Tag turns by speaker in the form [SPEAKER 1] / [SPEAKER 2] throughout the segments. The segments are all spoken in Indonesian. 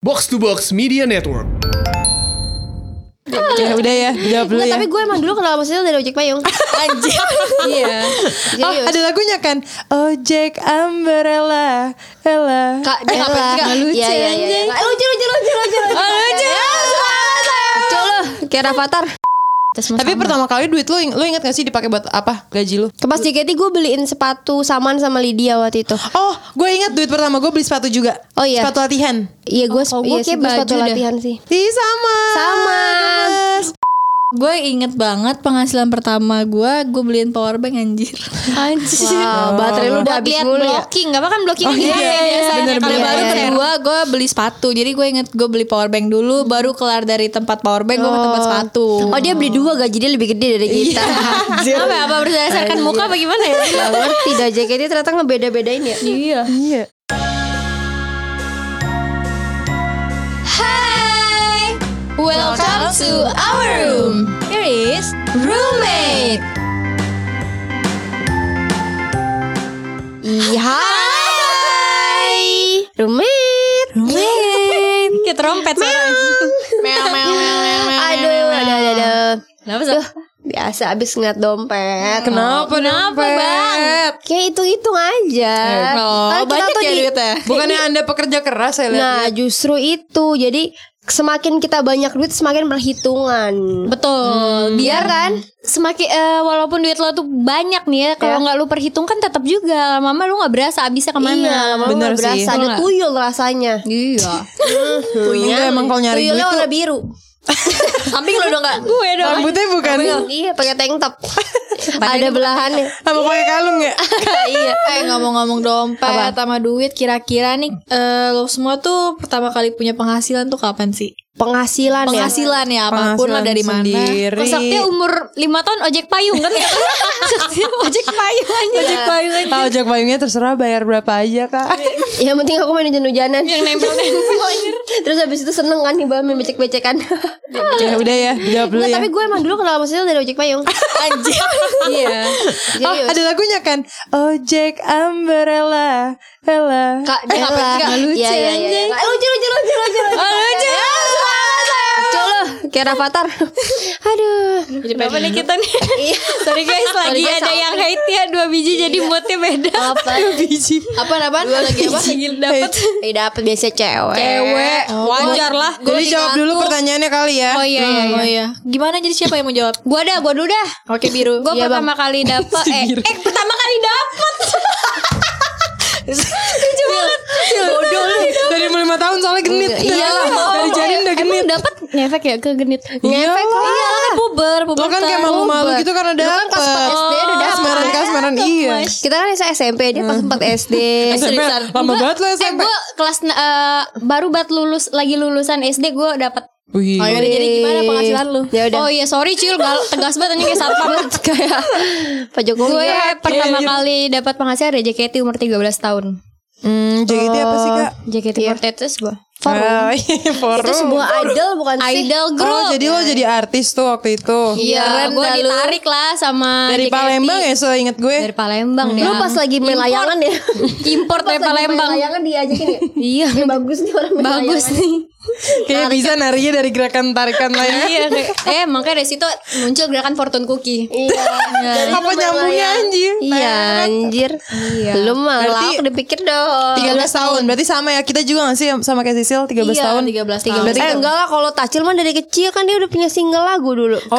[SPEAKER 1] Box to Box Media Network.
[SPEAKER 2] Ya udah ya, jawab dulu
[SPEAKER 3] Nggak,
[SPEAKER 2] ya.
[SPEAKER 3] tapi gue emang dulu kenal Mas Rizal dari Ojek Payung
[SPEAKER 2] Anjir.
[SPEAKER 3] Iya
[SPEAKER 2] Oh,
[SPEAKER 3] Jadi
[SPEAKER 2] ada lagunya kan? Ojek Umbrella, Ella. Eh,
[SPEAKER 3] Kak, dia
[SPEAKER 2] Ella.
[SPEAKER 3] ngapain sih, Kak?
[SPEAKER 2] Nggak lucu
[SPEAKER 3] Iya, iya, iya,
[SPEAKER 2] anjing.
[SPEAKER 3] iya. Lucu, lucu, lucu, lucu Ah,
[SPEAKER 2] Oh, lucu.
[SPEAKER 3] Lucu lu, kayak Rafathar Terus Mas
[SPEAKER 2] Tapi
[SPEAKER 3] Amar.
[SPEAKER 2] pertama kali duit lu, lu inget gak sih dipakai buat apa? Gaji lu?
[SPEAKER 3] Ke pas JKT gue beliin sepatu saman sama Lydia waktu itu
[SPEAKER 2] Oh, gue ingat duit pertama gue beli sepatu juga.
[SPEAKER 3] Oh, iya.
[SPEAKER 2] Sepatu latihan.
[SPEAKER 3] Iya gue
[SPEAKER 4] kalau
[SPEAKER 3] iya
[SPEAKER 4] gua
[SPEAKER 3] sih
[SPEAKER 4] kayak
[SPEAKER 3] gua sepatu
[SPEAKER 4] baju dah.
[SPEAKER 3] latihan sih
[SPEAKER 2] Ih, sama.
[SPEAKER 3] Sama.
[SPEAKER 2] Gemes.
[SPEAKER 4] Gue inget banget penghasilan pertama gue, gue beliin power bank anjir. Anjir.
[SPEAKER 3] Wow, baterai lu udah
[SPEAKER 4] Buat
[SPEAKER 3] habis
[SPEAKER 4] lihat
[SPEAKER 3] mulu ya
[SPEAKER 4] blocking, gak apa kan blocking
[SPEAKER 2] Oh,
[SPEAKER 4] gitu
[SPEAKER 2] iya,
[SPEAKER 4] ya
[SPEAKER 2] iya,
[SPEAKER 4] biasanya.
[SPEAKER 2] bener,
[SPEAKER 4] Kalau
[SPEAKER 2] bener. Iya,
[SPEAKER 4] baru
[SPEAKER 2] iya.
[SPEAKER 4] kedua gue beli sepatu. Jadi gue inget gue beli power bank dulu, baru kelar dari tempat power bank gue ke tempat sepatu.
[SPEAKER 3] Oh dia beli dua gaji dia lebih gede dari kita ya,
[SPEAKER 4] apa apa berdasarkan muka apa gimana ya?
[SPEAKER 3] Gak ngerti dah JKT ternyata ngebeda-bedain ya
[SPEAKER 4] Iya.
[SPEAKER 2] Iya.
[SPEAKER 4] Hai, welcome to our room. Here is roommate.
[SPEAKER 3] Iya Hai Rumit
[SPEAKER 4] Roommate. Kayak trompet suaranya. Meow meow meow meow. meow,
[SPEAKER 3] Aduh
[SPEAKER 4] meow, meow.
[SPEAKER 3] aduh aduh, aduh.
[SPEAKER 4] Kenapa Sob?
[SPEAKER 3] Biasa abis ngeliat dompet
[SPEAKER 2] Kenapa,
[SPEAKER 4] Kenapa
[SPEAKER 2] Dompet?
[SPEAKER 4] bang?
[SPEAKER 3] Kayak hitung-hitung aja
[SPEAKER 4] Oh,
[SPEAKER 3] Karena kita
[SPEAKER 4] banyak
[SPEAKER 3] tuh
[SPEAKER 4] ya
[SPEAKER 3] di-
[SPEAKER 4] duitnya. Iya.
[SPEAKER 2] Bukannya Anda pekerja keras saya lihat.
[SPEAKER 3] Nah justru itu Jadi semakin kita banyak duit semakin perhitungan
[SPEAKER 4] Betul. Biar kan semakin eh, walaupun duit lo tuh banyak nih ya, kalau
[SPEAKER 3] Ya.
[SPEAKER 4] nggak lo perhitungkan tetap juga lama-lama lo nggak berasa habisnya
[SPEAKER 3] Iya
[SPEAKER 4] kemana.
[SPEAKER 3] lama-lama
[SPEAKER 2] Bener
[SPEAKER 3] nggak
[SPEAKER 2] sih.
[SPEAKER 3] berasa Ada
[SPEAKER 4] Betul nggak?
[SPEAKER 3] tuyul rasanya
[SPEAKER 4] Iya.
[SPEAKER 2] Tuyul emang kalau nyari duit
[SPEAKER 3] Tuyulnya
[SPEAKER 2] tuh-
[SPEAKER 3] warna biru Samping lo udah gak
[SPEAKER 4] Gue dong.
[SPEAKER 2] Rambutnya
[SPEAKER 4] kan?
[SPEAKER 2] bukan
[SPEAKER 3] Iya pakai tank top Ada belahannya
[SPEAKER 2] sama pakai kalung ya?
[SPEAKER 4] iya. Eh ngomong-ngomong dompet sama duit, kira-kira nih eh, lo semua tuh pertama kali punya penghasilan tuh kapan sih?
[SPEAKER 3] Penghasilan, ya
[SPEAKER 4] Penghasilan ya, apapun lah
[SPEAKER 2] Penghasilan
[SPEAKER 4] dari mana.
[SPEAKER 2] sendiri.
[SPEAKER 4] Kok Saktia umur 5 tahun ojek payung kan ya? Saktia ojek payung aja. Ojek payung aja.
[SPEAKER 2] Ah, ojek payungnya terserah bayar berapa aja, Kak.
[SPEAKER 3] Ya penting aku main hujan-hujanan
[SPEAKER 4] Yang nempel-nempel anjir.
[SPEAKER 3] Terus habis itu seneng kan Hibah main becek-becekan
[SPEAKER 2] ya udah ya, jawab dulu
[SPEAKER 4] Iya.
[SPEAKER 3] Nggak,
[SPEAKER 2] ya.
[SPEAKER 3] Tapi gue emang dulu kenal Mas Rizal dari Ojek Payung
[SPEAKER 4] Anjir. Iya.
[SPEAKER 2] Oh,
[SPEAKER 3] Serius.
[SPEAKER 2] ada lagunya kan? Ojek umbrella, Ella. Oh,
[SPEAKER 3] Kak dia
[SPEAKER 4] Ella. Nggak lucu, ya,
[SPEAKER 3] Iya iya iya
[SPEAKER 4] anjing. Ah,
[SPEAKER 3] Nggak Lucu lucu lucu lucu Eh, lucu.
[SPEAKER 4] Lucu.
[SPEAKER 3] iya, Lucu lu Kayak Rafathar Aduh
[SPEAKER 4] Kenapa nih kita nih?
[SPEAKER 3] Iya.
[SPEAKER 4] Sorry guys, lagi
[SPEAKER 3] guys,
[SPEAKER 4] ada
[SPEAKER 3] sama.
[SPEAKER 4] yang hate ya dua biji jadi moodnya beda.
[SPEAKER 3] Iya. Apa
[SPEAKER 2] biji.
[SPEAKER 3] Apa apaan lagi apa
[SPEAKER 4] Dapat
[SPEAKER 3] Eh dapet biasa cewek
[SPEAKER 4] cewek, wajar lah.
[SPEAKER 2] Jadi jawab dulu pertanyaannya kali ya.
[SPEAKER 4] Oh iya, iya, oh iya. Gimana jadi siapa yang mau jawab?
[SPEAKER 3] Gue dah gue dulu dah
[SPEAKER 4] Oke biru. Iya, Gue pertama kali dapet. eh, eh, pertama kali dapet. Lucu banget.
[SPEAKER 2] Bodoh lu. Dari umur lima tahun soalnya genit.
[SPEAKER 4] Iya lah.
[SPEAKER 2] Dari janin udah genit.
[SPEAKER 4] Dapat ngefek ya ke genit.
[SPEAKER 2] Ngefek.
[SPEAKER 4] Iya lah kan puber, puber.
[SPEAKER 2] Lo kan kayak malu-malu gitu karena
[SPEAKER 3] kan
[SPEAKER 2] dapet.
[SPEAKER 3] SD udah dapet.
[SPEAKER 2] Kasmaran-kasmaran iya.
[SPEAKER 3] Kita kan SMP Dia pas sempat SD
[SPEAKER 4] Eh,
[SPEAKER 2] SMP lama banget lo SMP.
[SPEAKER 4] gue kelas eh, baru bat lulus lagi lulusan SD gue dapat
[SPEAKER 2] Wih.
[SPEAKER 3] Oh, iya
[SPEAKER 4] jadi gimana penghasilan lu?
[SPEAKER 3] Ya udah.
[SPEAKER 4] Oh iya sorry Cil, gal- tegas banget anjing kayak satpam.
[SPEAKER 3] Kayak Pak Jokowi
[SPEAKER 4] gue
[SPEAKER 3] ya.
[SPEAKER 4] pertama
[SPEAKER 2] Iya, iya.
[SPEAKER 4] kali dapat penghasilan dari JKT umur 13 tahun.
[SPEAKER 2] Hmm, JKT apa sih, Kak?
[SPEAKER 3] Iya.
[SPEAKER 4] JKT48 gue.
[SPEAKER 2] Ah, Forum.
[SPEAKER 3] Eh, Itu sebuah idol bukan sih
[SPEAKER 4] Idol group.
[SPEAKER 2] Oh, jadi lo jadi artis tuh waktu itu.
[SPEAKER 4] Iya, gue ditarik lah sama
[SPEAKER 2] Dari
[SPEAKER 4] JKT.
[SPEAKER 2] Palembang ya, so inget gue.
[SPEAKER 4] Dari Palembang
[SPEAKER 3] Hmm.
[SPEAKER 4] ya.
[SPEAKER 3] Lu pas lagi main layangan ya
[SPEAKER 4] import dari Palembang.
[SPEAKER 3] Layangan diajakin ya
[SPEAKER 4] Iya,
[SPEAKER 3] Ini bagus nih orang main
[SPEAKER 4] bagus
[SPEAKER 3] layangan.
[SPEAKER 4] nih.
[SPEAKER 2] Kayak bisa narinya dari gerakan tarikan ya. lain.
[SPEAKER 4] Iya, kayak- eh makanya dari situ muncul gerakan fortune cookie.
[SPEAKER 3] Iya Jadi lu
[SPEAKER 2] Apa
[SPEAKER 3] main
[SPEAKER 2] nyambungnya
[SPEAKER 3] layangan.
[SPEAKER 2] anjir?
[SPEAKER 3] Iya anjir
[SPEAKER 4] Iya.
[SPEAKER 3] Lu mah
[SPEAKER 2] Berarti-
[SPEAKER 3] lauk dipikir dong
[SPEAKER 2] 13 tahun. Berarti sama ya kita juga gak sih sama kayak Sisil 13
[SPEAKER 4] Iya,
[SPEAKER 2] tahun.
[SPEAKER 4] 13 tahun.
[SPEAKER 2] Berarti
[SPEAKER 3] Eh enggak lah kalau Tacil mah dari kecil kan dia udah punya single lagu dulu kan?
[SPEAKER 2] Oh,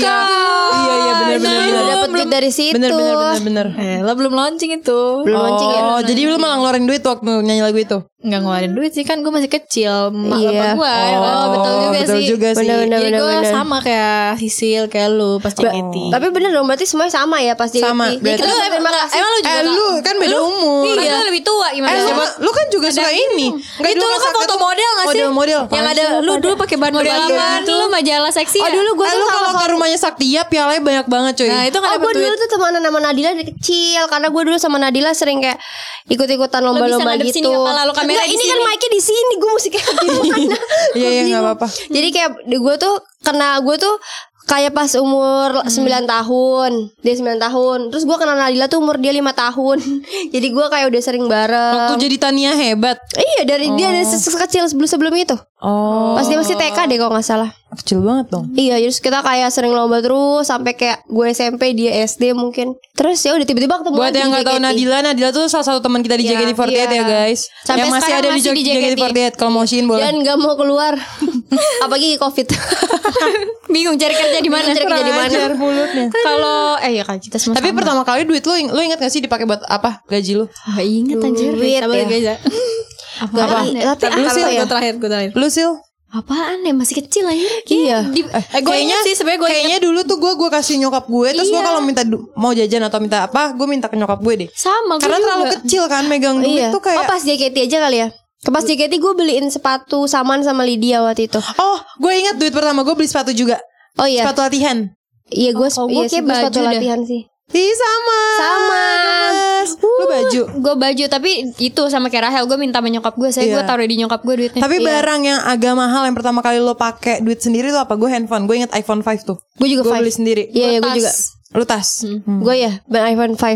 [SPEAKER 2] iya.
[SPEAKER 4] Kak.
[SPEAKER 2] Iya iya benar benar
[SPEAKER 3] Udah
[SPEAKER 2] benar.
[SPEAKER 3] dapet duit dari situ
[SPEAKER 2] Benar benar benar benar.
[SPEAKER 4] Eh, lo belum launching itu.
[SPEAKER 3] Belum launching ya
[SPEAKER 2] Oh, jadi lu malah ngeluarin duit waktu nyanyi lagu itu.
[SPEAKER 4] nggak ngeluarin duit sih kan gue masih kecil mak
[SPEAKER 3] Iya.
[SPEAKER 4] bapak gue
[SPEAKER 2] Oh,
[SPEAKER 4] betul juga
[SPEAKER 2] betul
[SPEAKER 4] sih
[SPEAKER 2] juga sih.
[SPEAKER 3] Benar-benar,
[SPEAKER 4] jadi gue
[SPEAKER 3] benar-benar.
[SPEAKER 4] sama kayak Sisil kayak lu pas JKT
[SPEAKER 3] Tapi bener dong berarti semuanya sama ya pasti
[SPEAKER 2] Sama,
[SPEAKER 3] Jadi kita
[SPEAKER 2] berarti.
[SPEAKER 3] ucapin terima kasih
[SPEAKER 4] emang lu juga
[SPEAKER 2] Eh
[SPEAKER 4] nggak?
[SPEAKER 2] lu kan beda umur.
[SPEAKER 4] Kan gua lebih tua gimana
[SPEAKER 2] Eh lu, lu kan juga suka ini. Nggak,
[SPEAKER 4] itu
[SPEAKER 2] dulu
[SPEAKER 4] lu kan
[SPEAKER 2] suka
[SPEAKER 4] foto
[SPEAKER 2] tuh
[SPEAKER 4] model gak sih?
[SPEAKER 2] Model model.
[SPEAKER 4] Yang ada lu dulu pakai
[SPEAKER 2] kan
[SPEAKER 4] bahan model apaan? Lu majalah seksi.
[SPEAKER 3] Oh
[SPEAKER 4] ya?
[SPEAKER 3] dulu gue
[SPEAKER 2] Eh, lu kalau ke rumahnya Saktia pialanya banyak banget cuy.
[SPEAKER 4] Nah, itu kan
[SPEAKER 3] Oh
[SPEAKER 4] dapat
[SPEAKER 3] gue dulu
[SPEAKER 4] duit.
[SPEAKER 3] tuh temenan sama Nadila dari kecil Karena gue dulu sama Nadila sering kayak Ikut-ikutan
[SPEAKER 4] bisa
[SPEAKER 3] lomba-lomba
[SPEAKER 4] ngadep
[SPEAKER 3] gitu
[SPEAKER 4] sini nggak pala, lu kamera
[SPEAKER 3] Nggak,
[SPEAKER 4] di
[SPEAKER 3] ini
[SPEAKER 4] sini.
[SPEAKER 3] kan mic-nya di sini Gue mesti kayak gimana
[SPEAKER 2] Iya iya enggak apa-apa.
[SPEAKER 3] Jadi kayak gue tuh Kena gue tuh kayak pas umur
[SPEAKER 2] Hmm.
[SPEAKER 3] 9 tahun dia 9 tahun terus gua kenal Nadila tuh umur dia 5 tahun jadi gua kayak udah sering bareng
[SPEAKER 2] Waktu jadi Tania hebat.
[SPEAKER 3] iya dari
[SPEAKER 2] Oh.
[SPEAKER 3] dia dari se- sekecil sebelum sebelum itu
[SPEAKER 5] Oh,
[SPEAKER 3] pas dia masih TK deh kalau nggak salah
[SPEAKER 5] kecil banget dong.
[SPEAKER 3] Iya, terus kita kayak sering lomba terus sampai kayak gue SMP dia SD mungkin. Terus ya udah tiba-tiba ketemu
[SPEAKER 2] Buat
[SPEAKER 3] lagi gitu.
[SPEAKER 2] yang
[SPEAKER 3] di
[SPEAKER 2] nggak tahu
[SPEAKER 3] JKT.
[SPEAKER 2] Nadila, Nadila tuh salah satu teman kita di
[SPEAKER 3] Iya,
[SPEAKER 2] JKT48
[SPEAKER 3] iya.
[SPEAKER 2] ya guys.
[SPEAKER 3] Sampai
[SPEAKER 2] yang masih
[SPEAKER 3] sekarang
[SPEAKER 2] ada
[SPEAKER 3] masih
[SPEAKER 2] di
[SPEAKER 3] di
[SPEAKER 2] JKT48. Kalau mau Shin boleh.
[SPEAKER 3] dan nggak mau keluar apalagi covid
[SPEAKER 4] Bingung cari kerja di mana?
[SPEAKER 3] Bingung cari kerja di mana.
[SPEAKER 2] Ajar mulutnya.
[SPEAKER 4] Kalau eh ya kan kita semua.
[SPEAKER 2] Tapi pertama kali duit lu, ing- lu ingat gak sih dipakai buat apa gaji lu?
[SPEAKER 4] Ah, inget anjir.
[SPEAKER 3] Duit
[SPEAKER 4] Sabar,
[SPEAKER 3] ya.
[SPEAKER 4] guys, ya.
[SPEAKER 3] Apaan ya? Tapi
[SPEAKER 4] Tapi lu
[SPEAKER 3] apa
[SPEAKER 4] sih
[SPEAKER 3] ya?
[SPEAKER 4] gue terakhir gue terakhir.
[SPEAKER 2] Lu Sil?
[SPEAKER 4] Apaan ya masih kecil aja.
[SPEAKER 3] Iya.
[SPEAKER 4] eh, gue inget sih sebenarnya gue
[SPEAKER 2] Kayaknya dulu tuh gue gue kasih nyokap gue terus gue
[SPEAKER 4] Iya.
[SPEAKER 2] kalau minta du- mau jajan atau minta apa gue minta ke nyokap gue deh.
[SPEAKER 4] sama gue
[SPEAKER 2] Karena
[SPEAKER 4] juga.
[SPEAKER 2] terlalu kecil kan megang duit
[SPEAKER 3] iya
[SPEAKER 2] tuh kayak
[SPEAKER 3] oh pas JKT aja kali ya ke pas JKT gue beliin sepatu saman sama Lydia waktu itu
[SPEAKER 2] Oh, gue ingat duit pertama gue beli sepatu juga.
[SPEAKER 3] oh iya
[SPEAKER 2] Sepatu latihan.
[SPEAKER 3] iya gue
[SPEAKER 4] Oh,
[SPEAKER 3] iya
[SPEAKER 4] gua
[SPEAKER 3] sih
[SPEAKER 4] kayak
[SPEAKER 3] gue sepatu
[SPEAKER 4] baju dah.
[SPEAKER 3] latihan sih
[SPEAKER 2] Ih sama.
[SPEAKER 3] Sama. Eh,
[SPEAKER 2] Gemes. Lu baju.
[SPEAKER 4] Gue baju tapi itu sama kayak Rahel gue minta sama nyokap gue saya
[SPEAKER 2] Iya.
[SPEAKER 4] gue taruh di nyokap gue duitnya.
[SPEAKER 3] iya.
[SPEAKER 4] Iya.
[SPEAKER 2] Tapi barang yang agak mahal yang pertama kali lo pakai duit sendiri tuh apa? Gue handphone. Gue inget iPhone 5 tuh.
[SPEAKER 3] gue juga
[SPEAKER 2] Gue
[SPEAKER 3] five
[SPEAKER 2] beli sendiri.
[SPEAKER 3] iya iya gue
[SPEAKER 4] Tas. Hmm.
[SPEAKER 3] juga
[SPEAKER 2] Lu tas.
[SPEAKER 3] gue ya ben iPhone 5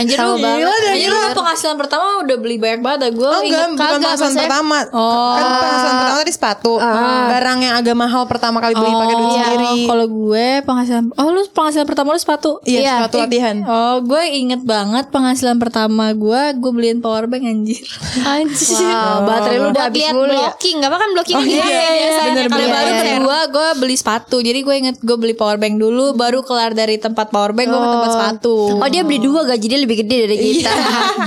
[SPEAKER 4] Anjir
[SPEAKER 3] Sama
[SPEAKER 4] lu
[SPEAKER 3] banget.
[SPEAKER 4] gila Anjir lu penghasilan pertama udah beli banyak banget gue
[SPEAKER 2] Oh enggak, bukan penghasilan pertama.
[SPEAKER 4] Oh.
[SPEAKER 2] Kan penghasilan pertama tadi sepatu. Barang yang agak mahal pertama kali beli pakai duit sendiri.
[SPEAKER 4] Oh, iya. Kalau gue penghasilan Oh lu penghasilan pertama lu sepatu
[SPEAKER 2] Iya, sepatu latihan.
[SPEAKER 4] Oh gue inget banget penghasilan pertama gue Gue beliin power bank anjir Anjir
[SPEAKER 3] wow, baterai lu udah
[SPEAKER 4] Buat
[SPEAKER 3] habis
[SPEAKER 4] lihat
[SPEAKER 3] mulu ya
[SPEAKER 4] blocking Gak apa kan blocking
[SPEAKER 2] Oh,
[SPEAKER 4] gitu
[SPEAKER 2] iya,
[SPEAKER 4] ya
[SPEAKER 2] iya,
[SPEAKER 4] biasa
[SPEAKER 2] bener,
[SPEAKER 4] Kalau
[SPEAKER 2] bener.
[SPEAKER 4] baru
[SPEAKER 2] Iya.
[SPEAKER 4] kedua gue beli sepatu Jadi gue inget gue beli power bank dulu Baru kelar dari tempat power bank Gue ke tempat sepatu
[SPEAKER 3] Oh dia beli dua gaji dia lebih gede dari kita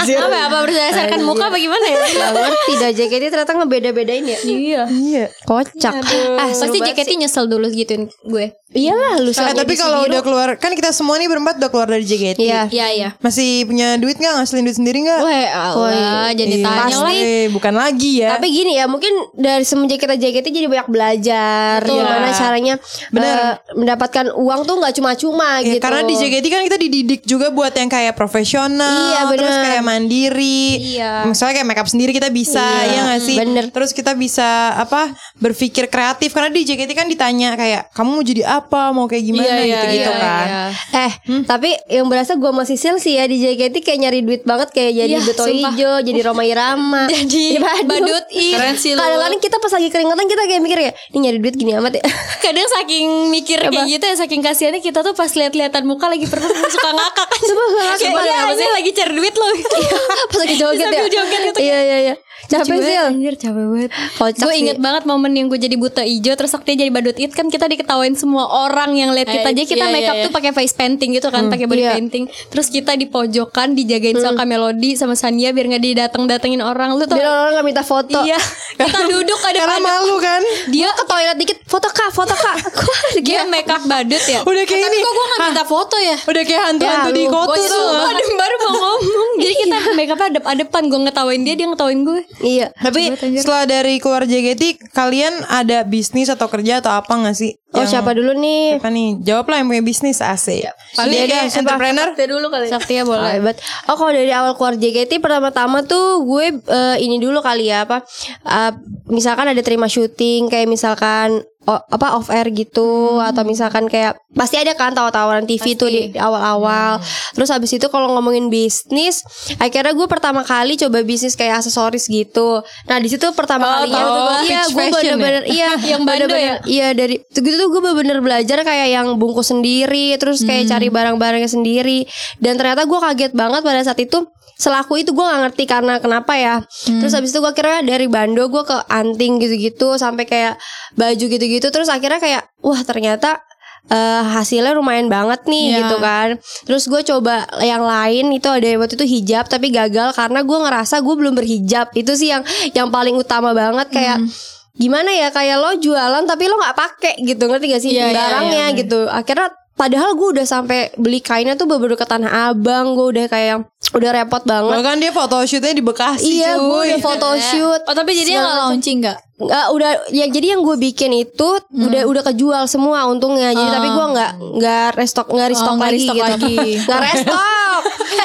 [SPEAKER 4] Apa ya, apa berdasarkan muka apa gimana ya
[SPEAKER 3] Gak ngerti dah JKT ternyata ngebeda-bedain ya
[SPEAKER 4] Iya
[SPEAKER 2] Iya.
[SPEAKER 3] Kocak
[SPEAKER 4] Ah pasti JKT nyesel dulu gituin gue
[SPEAKER 3] Iyalah lu
[SPEAKER 2] Eh, tapi kalau udah keluar, kan kita semua nih berempat udah keluar dari JKT.
[SPEAKER 3] Iya
[SPEAKER 4] Iya iya
[SPEAKER 2] Masih punya duit nggak ngasilin duit sendiri nggak?
[SPEAKER 4] Weh Allah jadi
[SPEAKER 2] Iya.
[SPEAKER 4] tanya lah
[SPEAKER 2] Eh, bukan lagi ya.
[SPEAKER 3] Tapi gini ya, mungkin dari semenjak kita JKT jadi banyak belajar
[SPEAKER 4] Betul.
[SPEAKER 3] gimana caranya
[SPEAKER 2] Bener.
[SPEAKER 3] eh, mendapatkan uang tuh nggak cuma-cuma
[SPEAKER 2] Ya,
[SPEAKER 3] gitu.
[SPEAKER 2] Karena di JKT kan kita dididik juga buat yang kayak profesional,
[SPEAKER 3] Iya, bener.
[SPEAKER 2] terus kayak mandiri.
[SPEAKER 4] Iya.
[SPEAKER 2] Misalnya kayak makeup sendiri kita bisa, iya nggak sih?
[SPEAKER 3] bener.
[SPEAKER 2] Terus kita bisa apa? Berpikir kreatif karena di JKT kan ditanya kayak kamu mau jadi apa, mau kayak gimana
[SPEAKER 4] Iya, iya,
[SPEAKER 2] gitu-gitu
[SPEAKER 4] iya,
[SPEAKER 2] kan.
[SPEAKER 4] iya.
[SPEAKER 3] Eh, tapi yang berasa gua masih Sisil sih ya di JKT kayak nyari duit banget kayak jadi
[SPEAKER 4] Iya,
[SPEAKER 3] Beto
[SPEAKER 4] sumpah.
[SPEAKER 3] Ijo, jadi Roma Irama,
[SPEAKER 4] Jadi
[SPEAKER 3] Badut.
[SPEAKER 4] badut, ih. Keren sih lu.
[SPEAKER 3] Kadang-kadang kita pas lagi keringetan kita kayak mikir ya, ini nyari duit gini amat ya.
[SPEAKER 4] Kadang saking mikir kayak gitu ya Saking kasihannya kita tuh pas lihat-lihatan muka lagi perut Suka ngakak kan
[SPEAKER 3] Sumpah, gua ngakak
[SPEAKER 4] Kayak
[SPEAKER 3] banget.
[SPEAKER 4] iya, anjir, lagi cari duit loh
[SPEAKER 3] pas lagi joget ya.
[SPEAKER 4] Sambil joget gitu.
[SPEAKER 3] Iya iya iya. Capek Sil.
[SPEAKER 4] Anjir capek banget
[SPEAKER 3] Kocak
[SPEAKER 4] Gue
[SPEAKER 3] sih.
[SPEAKER 4] inget banget momen yang gue jadi buta ijo Terus dia jadi badut it Kan kita diketawain semua orang yang lihat kita Eh, Jadi kita iya, iya, makeup iya. tuh pakai face painting gitu kan pakai body
[SPEAKER 3] iya.
[SPEAKER 4] painting Terus kita di pojokan Dijagain sama Kak Melody sama Sania Biar gak didateng-datengin orang Lu tuh
[SPEAKER 3] Biar orang nggak minta foto.
[SPEAKER 4] Iya Kita duduk ada
[SPEAKER 2] Karena malu kan.
[SPEAKER 4] Dia
[SPEAKER 3] Ke toilet dikit, foto kak, foto kak. Gua lagi
[SPEAKER 4] dia makeup badut ya
[SPEAKER 2] Udah kayak
[SPEAKER 4] Tapi
[SPEAKER 2] ini.
[SPEAKER 4] kok gue gak minta foto ya
[SPEAKER 2] Udah kayak hantu-hantu
[SPEAKER 3] Ya,
[SPEAKER 2] di
[SPEAKER 3] lu,
[SPEAKER 2] kota
[SPEAKER 4] Gue
[SPEAKER 2] tuh.
[SPEAKER 4] juga ada Oh, baru mau ngomong Jadi kita makeup adep adepan Gue ngetawain dia Dia ngetawain gue
[SPEAKER 3] Iya.
[SPEAKER 2] Tapi setelah dari keluar JKT, kalian ada bisnis atau kerja atau apa nggak sih?
[SPEAKER 3] Oh siapa dulu nih?
[SPEAKER 2] Apa nih? Jawab lah yang punya bisnis AC.
[SPEAKER 3] Dia
[SPEAKER 2] Ini
[SPEAKER 3] deh,
[SPEAKER 2] kayak
[SPEAKER 3] sumpah.
[SPEAKER 2] entrepreneur.
[SPEAKER 4] Kita dulu kali Saktia
[SPEAKER 3] Ah, hebat. Oh kalau dari awal keluar JKT pertama-tama tuh gue eh, ini dulu kali ya apa? eh, misalkan ada terima syuting kayak misalkan o- apa off air gitu
[SPEAKER 4] Hmm.
[SPEAKER 3] atau misalkan kayak pasti ada kan tawaran TV tuh di di awal-awal.
[SPEAKER 4] Hmm.
[SPEAKER 3] Terus habis itu kalau ngomongin bisnis, akhirnya gue pertama kali coba bisnis kayak aksesoris gitu. Nah di situ pertama
[SPEAKER 4] Oh,
[SPEAKER 3] kalinya
[SPEAKER 4] tahu
[SPEAKER 3] gue,
[SPEAKER 4] gua.
[SPEAKER 3] iya
[SPEAKER 2] Peach
[SPEAKER 3] gue
[SPEAKER 2] fashion ya?
[SPEAKER 3] bener-bener iya
[SPEAKER 4] Yang bando
[SPEAKER 3] bener-bener-
[SPEAKER 4] ya?
[SPEAKER 3] Iya dari gitu tuh gue bener-bener belajar kayak yang bungkus sendiri Terus kayak cari barang-barangnya sendiri Dan ternyata gue kaget banget pada saat itu Selaku itu gue gak ngerti karena kenapa ya Terus habis itu gue akhirnya dari Bando gue ke Anting gitu-gitu Sampai kayak baju gitu-gitu Terus akhirnya kayak wah ternyata eh, hasilnya lumayan banget nih
[SPEAKER 4] Iya.
[SPEAKER 3] gitu kan Terus gue coba yang lain itu ada waktu itu hijab tapi gagal karena gue ngerasa gue belum berhijab itu sih yang yang paling utama banget kayak
[SPEAKER 4] Hmm.
[SPEAKER 3] gimana ya kayak lo jualan tapi lo nggak pakai gitu ngerti gak sih
[SPEAKER 4] Iya, iya,
[SPEAKER 3] barangnya
[SPEAKER 4] iya, bener.
[SPEAKER 3] gitu akhirnya padahal gue udah sampai beli kainnya tuh baru ke tanah abang gue udah kayak udah repot banget
[SPEAKER 2] Bahkan kan dia photoshootnya di Bekasi
[SPEAKER 3] iya gue
[SPEAKER 2] cuy.
[SPEAKER 3] udah photoshoot
[SPEAKER 4] Oh tapi jadi
[SPEAKER 3] segala
[SPEAKER 4] gak
[SPEAKER 3] macam.
[SPEAKER 4] launching gak?
[SPEAKER 3] Nggak, udah ya jadi yang gue bikin itu udah udah kejual semua untungnya jadi tapi gue nggak nggak restock nggak restock
[SPEAKER 4] nggak
[SPEAKER 3] lagi
[SPEAKER 4] restock
[SPEAKER 3] gitu
[SPEAKER 4] lagi.
[SPEAKER 3] nggak restock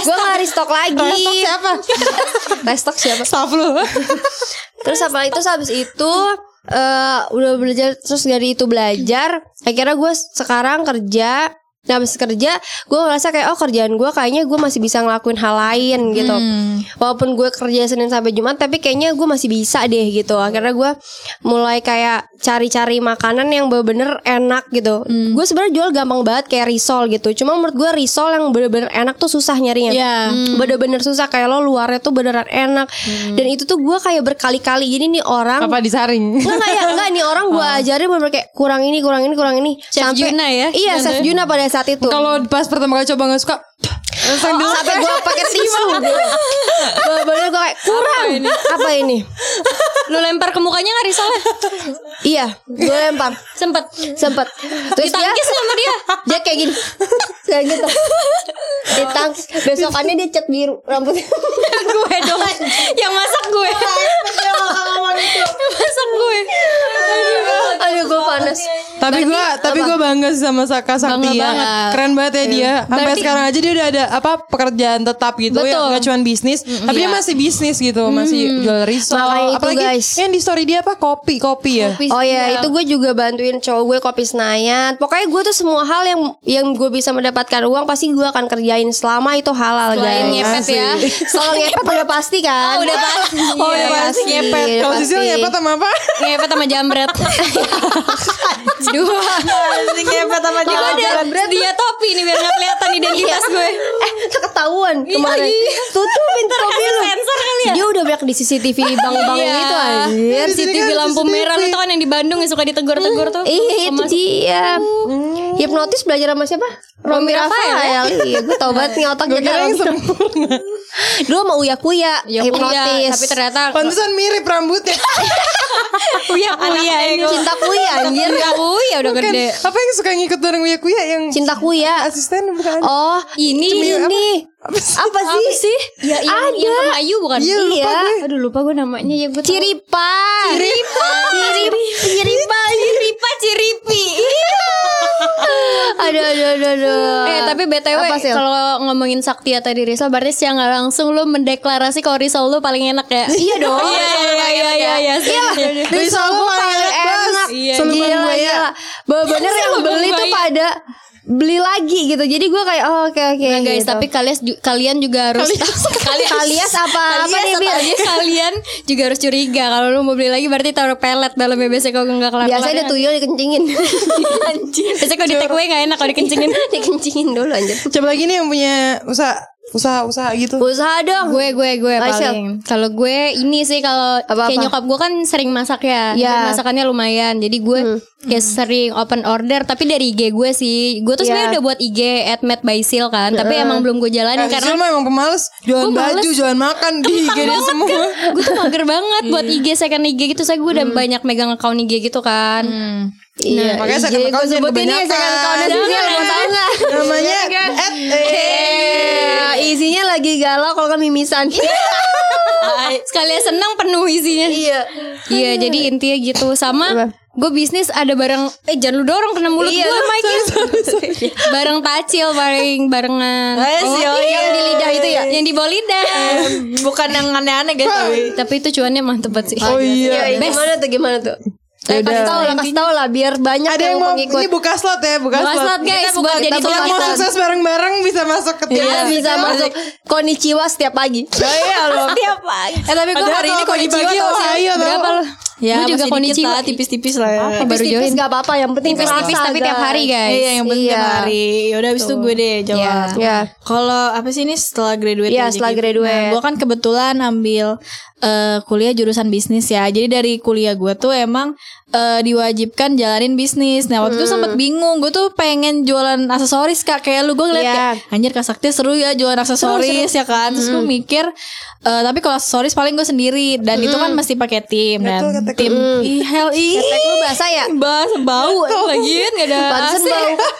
[SPEAKER 3] gue nggak restock lagi restock siapa restock siapa
[SPEAKER 2] Staff lu.
[SPEAKER 3] Terus apa itu habis itu eh, udah belajar terus dari itu belajar akhirnya gue sekarang kerja nah habis kerja gue ngerasa kayak oh kerjaan gue kayaknya gue masih bisa ngelakuin hal lain gitu walaupun gue kerja senin sampai jumat tapi kayaknya gue masih bisa deh gitu akhirnya gue mulai kayak cari-cari makanan yang bener-bener enak gitu gue sebenarnya jual gampang banget kayak risol gitu cuma menurut gue risol yang bener-bener enak tuh susah nyarinya Hmm.
[SPEAKER 6] Iya.
[SPEAKER 3] bener-bener susah kayak lo luarnya tuh beneran enak dan itu tuh gue kayak berkali-kali jadi nih orang
[SPEAKER 2] Apa disaring?
[SPEAKER 3] Enggak enggak ya, enggak nih orang gua ajarin bener kayak kurang ini, kurang ini, kurang ini.
[SPEAKER 6] Chef Juna ya?
[SPEAKER 3] Iya,
[SPEAKER 6] Juna
[SPEAKER 3] Chef
[SPEAKER 6] ya?
[SPEAKER 3] Juna pada saat itu.
[SPEAKER 2] Kalau pas pertama kali coba nggak suka,
[SPEAKER 3] Oh, sampai gua pakai tisu. Bener gua kayak kurang. Apa ini?
[SPEAKER 4] Lu lempar ke mukanya nggak risolnya?
[SPEAKER 3] Iya, gua lempar.
[SPEAKER 4] Sempet.
[SPEAKER 3] Sempet Terus dia
[SPEAKER 4] Ditangkis sama dia.
[SPEAKER 3] dia kayak gini. Kayak gitu. Ditang besokannya dia cat biru rambutnya.
[SPEAKER 4] gue dong. Yang masak gue. Yang masak gue.
[SPEAKER 3] Aduh, gua panas.
[SPEAKER 2] tapi gue tapi gue bangga sih sama Saka Sakti ya.
[SPEAKER 6] banget.
[SPEAKER 2] Keren banget
[SPEAKER 3] Iya.
[SPEAKER 2] ya dia. Sampai sekarang aja dia udah ada apa pekerjaan tetap gitu ya,
[SPEAKER 6] Betul.
[SPEAKER 2] nggak cuma bisnis, tapi dia masih bisnis gitu, masih jual risol.
[SPEAKER 3] Iya. Makanya itu,
[SPEAKER 2] Apalagi
[SPEAKER 3] guys.
[SPEAKER 2] yang di story dia apa kopi kopi ya.
[SPEAKER 3] Oh ya,
[SPEAKER 4] Iya.
[SPEAKER 3] itu gue juga bantuin cowok gue kopi Senayan. Pokoknya gue tuh semua hal yang yang gue bisa mendapatkan uang pasti gue akan kerjain selama itu halal guys.
[SPEAKER 4] Selain ngepet ya.
[SPEAKER 3] Kalau ngepet udah pasti kan.
[SPEAKER 4] Oh, udah pasti.
[SPEAKER 2] Oh ya pasti ngepet.
[SPEAKER 3] udah
[SPEAKER 2] Kalau
[SPEAKER 3] pasti.
[SPEAKER 2] Sisil ngepet sama apa?
[SPEAKER 4] Ngepet sama jambret.
[SPEAKER 3] Dua.
[SPEAKER 2] ngepet sama
[SPEAKER 4] Gue ada dia topi nih biar nggak kelihatan identitas gue.
[SPEAKER 3] Eh, ketahuan kemarin. Tutupin topi lu.
[SPEAKER 4] Iya, Sensor kali ya.
[SPEAKER 3] Dia udah banyak di CCTV bank-bank
[SPEAKER 4] Iya.
[SPEAKER 3] itu anjir.
[SPEAKER 4] Di CCTV lampu merah lu tau kan yang di Bandung yang suka ditegur-tegur tuh. Hmm.
[SPEAKER 3] Iya itu dia. Hipnotis belajar sama siapa? Romi Rafael. Iya, gue tau banget nih otak kita. Romi. Dulu sama Uya Kuya,
[SPEAKER 4] Ya,
[SPEAKER 3] hipnotis.
[SPEAKER 4] iya, tapi ternyata
[SPEAKER 2] Pantesan mirip rambutnya.
[SPEAKER 4] Uya Uya ini.
[SPEAKER 3] Oh, iya, Cinta Kuya anjir.
[SPEAKER 4] Uya Uya udah
[SPEAKER 2] Kan,
[SPEAKER 4] gede.
[SPEAKER 2] apa yang suka ngikut bareng Uya Kuya yang
[SPEAKER 3] Cinta Kuya.
[SPEAKER 2] asisten bukan?
[SPEAKER 3] Oh,
[SPEAKER 4] Ini
[SPEAKER 3] ini.
[SPEAKER 2] Apa sih?
[SPEAKER 3] Apa sih?
[SPEAKER 4] Ya, yang,
[SPEAKER 3] Ada.
[SPEAKER 4] yang sama Ayu bukan?
[SPEAKER 2] Iya, lupa
[SPEAKER 3] iya.
[SPEAKER 2] gue.
[SPEAKER 4] Aduh lupa gue namanya ya gue Ciri
[SPEAKER 3] Ciripa. Ciripa. Ciripa. Ciripa.
[SPEAKER 4] Ciripa Ciripi.
[SPEAKER 3] Aduh, aduh, aduh, aduh.
[SPEAKER 4] Eh tapi BTW
[SPEAKER 3] Apa, Sil?
[SPEAKER 4] kalau ngomongin Sakti atau di Rizal berarti secara nggak langsung lu mendeklarasi kalau Rizal lu paling enak ya.
[SPEAKER 3] Iya dong.
[SPEAKER 4] Iya iya iya iya iya. Iya.
[SPEAKER 3] Dari Solo
[SPEAKER 2] Solo
[SPEAKER 3] paling
[SPEAKER 2] paling enak, Bos.
[SPEAKER 3] enak.
[SPEAKER 4] Iya,
[SPEAKER 2] Solo
[SPEAKER 3] gila,
[SPEAKER 2] Bang Buaya.
[SPEAKER 3] gila. Bah- Bener yang
[SPEAKER 4] Solo Bang
[SPEAKER 3] beli tuh
[SPEAKER 4] Buaya.
[SPEAKER 3] pada beli lagi gitu. Jadi gue kayak oh, oke oke.
[SPEAKER 4] Nah guys,
[SPEAKER 3] gitu.
[SPEAKER 4] tapi kalian ju- kalian juga harus kalian
[SPEAKER 3] Kalias apa? Apa nih, Bil?
[SPEAKER 4] kalian juga harus curiga kalau lu mau beli lagi berarti taruh pelet dalamnya biasanya kalau nggak kelar.
[SPEAKER 3] biasanya ada tuyul dikencingin.
[SPEAKER 4] Biasanya kalau di take away nggak enak kalau dikencingin.
[SPEAKER 3] dikencingin dulu anjir.
[SPEAKER 2] Coba lagi nih yang punya usaha usaha usaha gitu.
[SPEAKER 3] Usaha dong.
[SPEAKER 4] gue gue gue
[SPEAKER 3] Aisyah.
[SPEAKER 4] paling kalau gue ini sih kalau
[SPEAKER 3] Apa-apa?
[SPEAKER 4] kayak nyokap gue kan sering masak ya
[SPEAKER 3] Iya. Hmm.
[SPEAKER 4] Dan masakannya lumayan jadi gue kayak sering open order tapi dari IG gue sih gue
[SPEAKER 3] Iya.
[SPEAKER 4] tuh sebenarnya udah buat IG at Matt by Sil kan tapi emang belum gue jalanin
[SPEAKER 2] Nah,
[SPEAKER 4] karena
[SPEAKER 2] Sisil mah emang pemalas Jualan
[SPEAKER 4] Gue males. Iya,
[SPEAKER 2] baju, jualan makan Di IG dia semua
[SPEAKER 4] gue tuh mager banget buat IG second IG gitu saya gue udah banyak megang account IG gitu kan
[SPEAKER 3] Iya.
[SPEAKER 2] Makanya second
[SPEAKER 3] Jadi gue
[SPEAKER 2] account jangan
[SPEAKER 4] ya,
[SPEAKER 3] sebutin nih
[SPEAKER 2] kebanyakan. Iya,
[SPEAKER 3] second account Sisil, mau tahu nggak?
[SPEAKER 2] Namanya at
[SPEAKER 3] Eh, isinya lagi galau kalau kan mimisan.
[SPEAKER 4] sekalian senang penuh isinya
[SPEAKER 3] Iya.
[SPEAKER 4] Iya jadi intinya gitu
[SPEAKER 3] Apa?
[SPEAKER 4] sama gue bisnis ada barang eh jangan lu dorong kena mulut
[SPEAKER 3] Iya,
[SPEAKER 4] gue Mike barang tacil paling barengan Oh, iya,
[SPEAKER 6] Guys, yo,
[SPEAKER 4] yang di lidah itu ya yang di bawah lidah
[SPEAKER 6] Bukan yang aneh-aneh guys tapi
[SPEAKER 4] tapi itu cuannya mantep banget sih
[SPEAKER 2] Oh iya
[SPEAKER 3] Iya, iya. gimana tuh gimana tuh? Eh,
[SPEAKER 2] Yaudah.
[SPEAKER 3] kasih tau lah, kasih tau lah biar banyak
[SPEAKER 2] Ada yang mau Ini buka slot ya Buka,
[SPEAKER 4] Buka slot
[SPEAKER 2] slot
[SPEAKER 4] guys buat jadi
[SPEAKER 3] kita
[SPEAKER 2] Yang
[SPEAKER 4] tulang
[SPEAKER 2] mau
[SPEAKER 3] buka
[SPEAKER 4] kita.
[SPEAKER 2] sukses bareng-bareng Bisa masuk ke Oh, tim
[SPEAKER 3] Iya, bisa masuk Konichiwa setiap pagi.
[SPEAKER 4] eh tapi gue
[SPEAKER 2] Ada
[SPEAKER 4] hari ini
[SPEAKER 2] iya, kalau
[SPEAKER 4] kondisiwa
[SPEAKER 2] dibagi,
[SPEAKER 4] tau
[SPEAKER 2] oh,
[SPEAKER 4] sih
[SPEAKER 2] ayo, tau.
[SPEAKER 4] berapa lo
[SPEAKER 6] Ya
[SPEAKER 4] gue juga
[SPEAKER 6] masih dikit
[SPEAKER 4] kondisiwa
[SPEAKER 6] lah Tipis-tipis lah ya
[SPEAKER 4] baru
[SPEAKER 3] Tipis-tipis
[SPEAKER 4] join
[SPEAKER 3] gak apa-apa, yang penting
[SPEAKER 4] tipis-tipis
[SPEAKER 3] kerasa,
[SPEAKER 4] tapi tiap
[SPEAKER 3] guys.
[SPEAKER 4] hari guys
[SPEAKER 6] Iya yang penting tiap
[SPEAKER 3] Iya.
[SPEAKER 6] hari Yaudah ya abis itu gue deh jawab
[SPEAKER 4] Iya.
[SPEAKER 3] Iya.
[SPEAKER 6] Kalau apa sih ini setelah graduate
[SPEAKER 3] Iya,
[SPEAKER 6] aja
[SPEAKER 3] setelah
[SPEAKER 6] gitu.
[SPEAKER 3] graduate.
[SPEAKER 6] Nah, gue kan kebetulan ambil eh, kuliah jurusan bisnis ya Jadi dari kuliah gue tuh emang eh, diwajibkan jalanin bisnis Nah waktu itu sempet bingung Gue tuh pengen jualan aksesoris kak Kayak lu gue ngeliat
[SPEAKER 3] Iya.
[SPEAKER 6] kayak Anjir kak Sakti seru ya jualan aksesoris ya kan Terus gue mikir eh, Tapi kalau aksesoris paling gue sendiri Dan itu kan mesti pakai tim
[SPEAKER 2] Betul,
[SPEAKER 6] Dan
[SPEAKER 2] kata
[SPEAKER 6] tim Ih, hell ih
[SPEAKER 3] Ketek lu basah ya?
[SPEAKER 6] Bahas bau lagi gak ada
[SPEAKER 3] Pantesan
[SPEAKER 6] AC.
[SPEAKER 3] bau.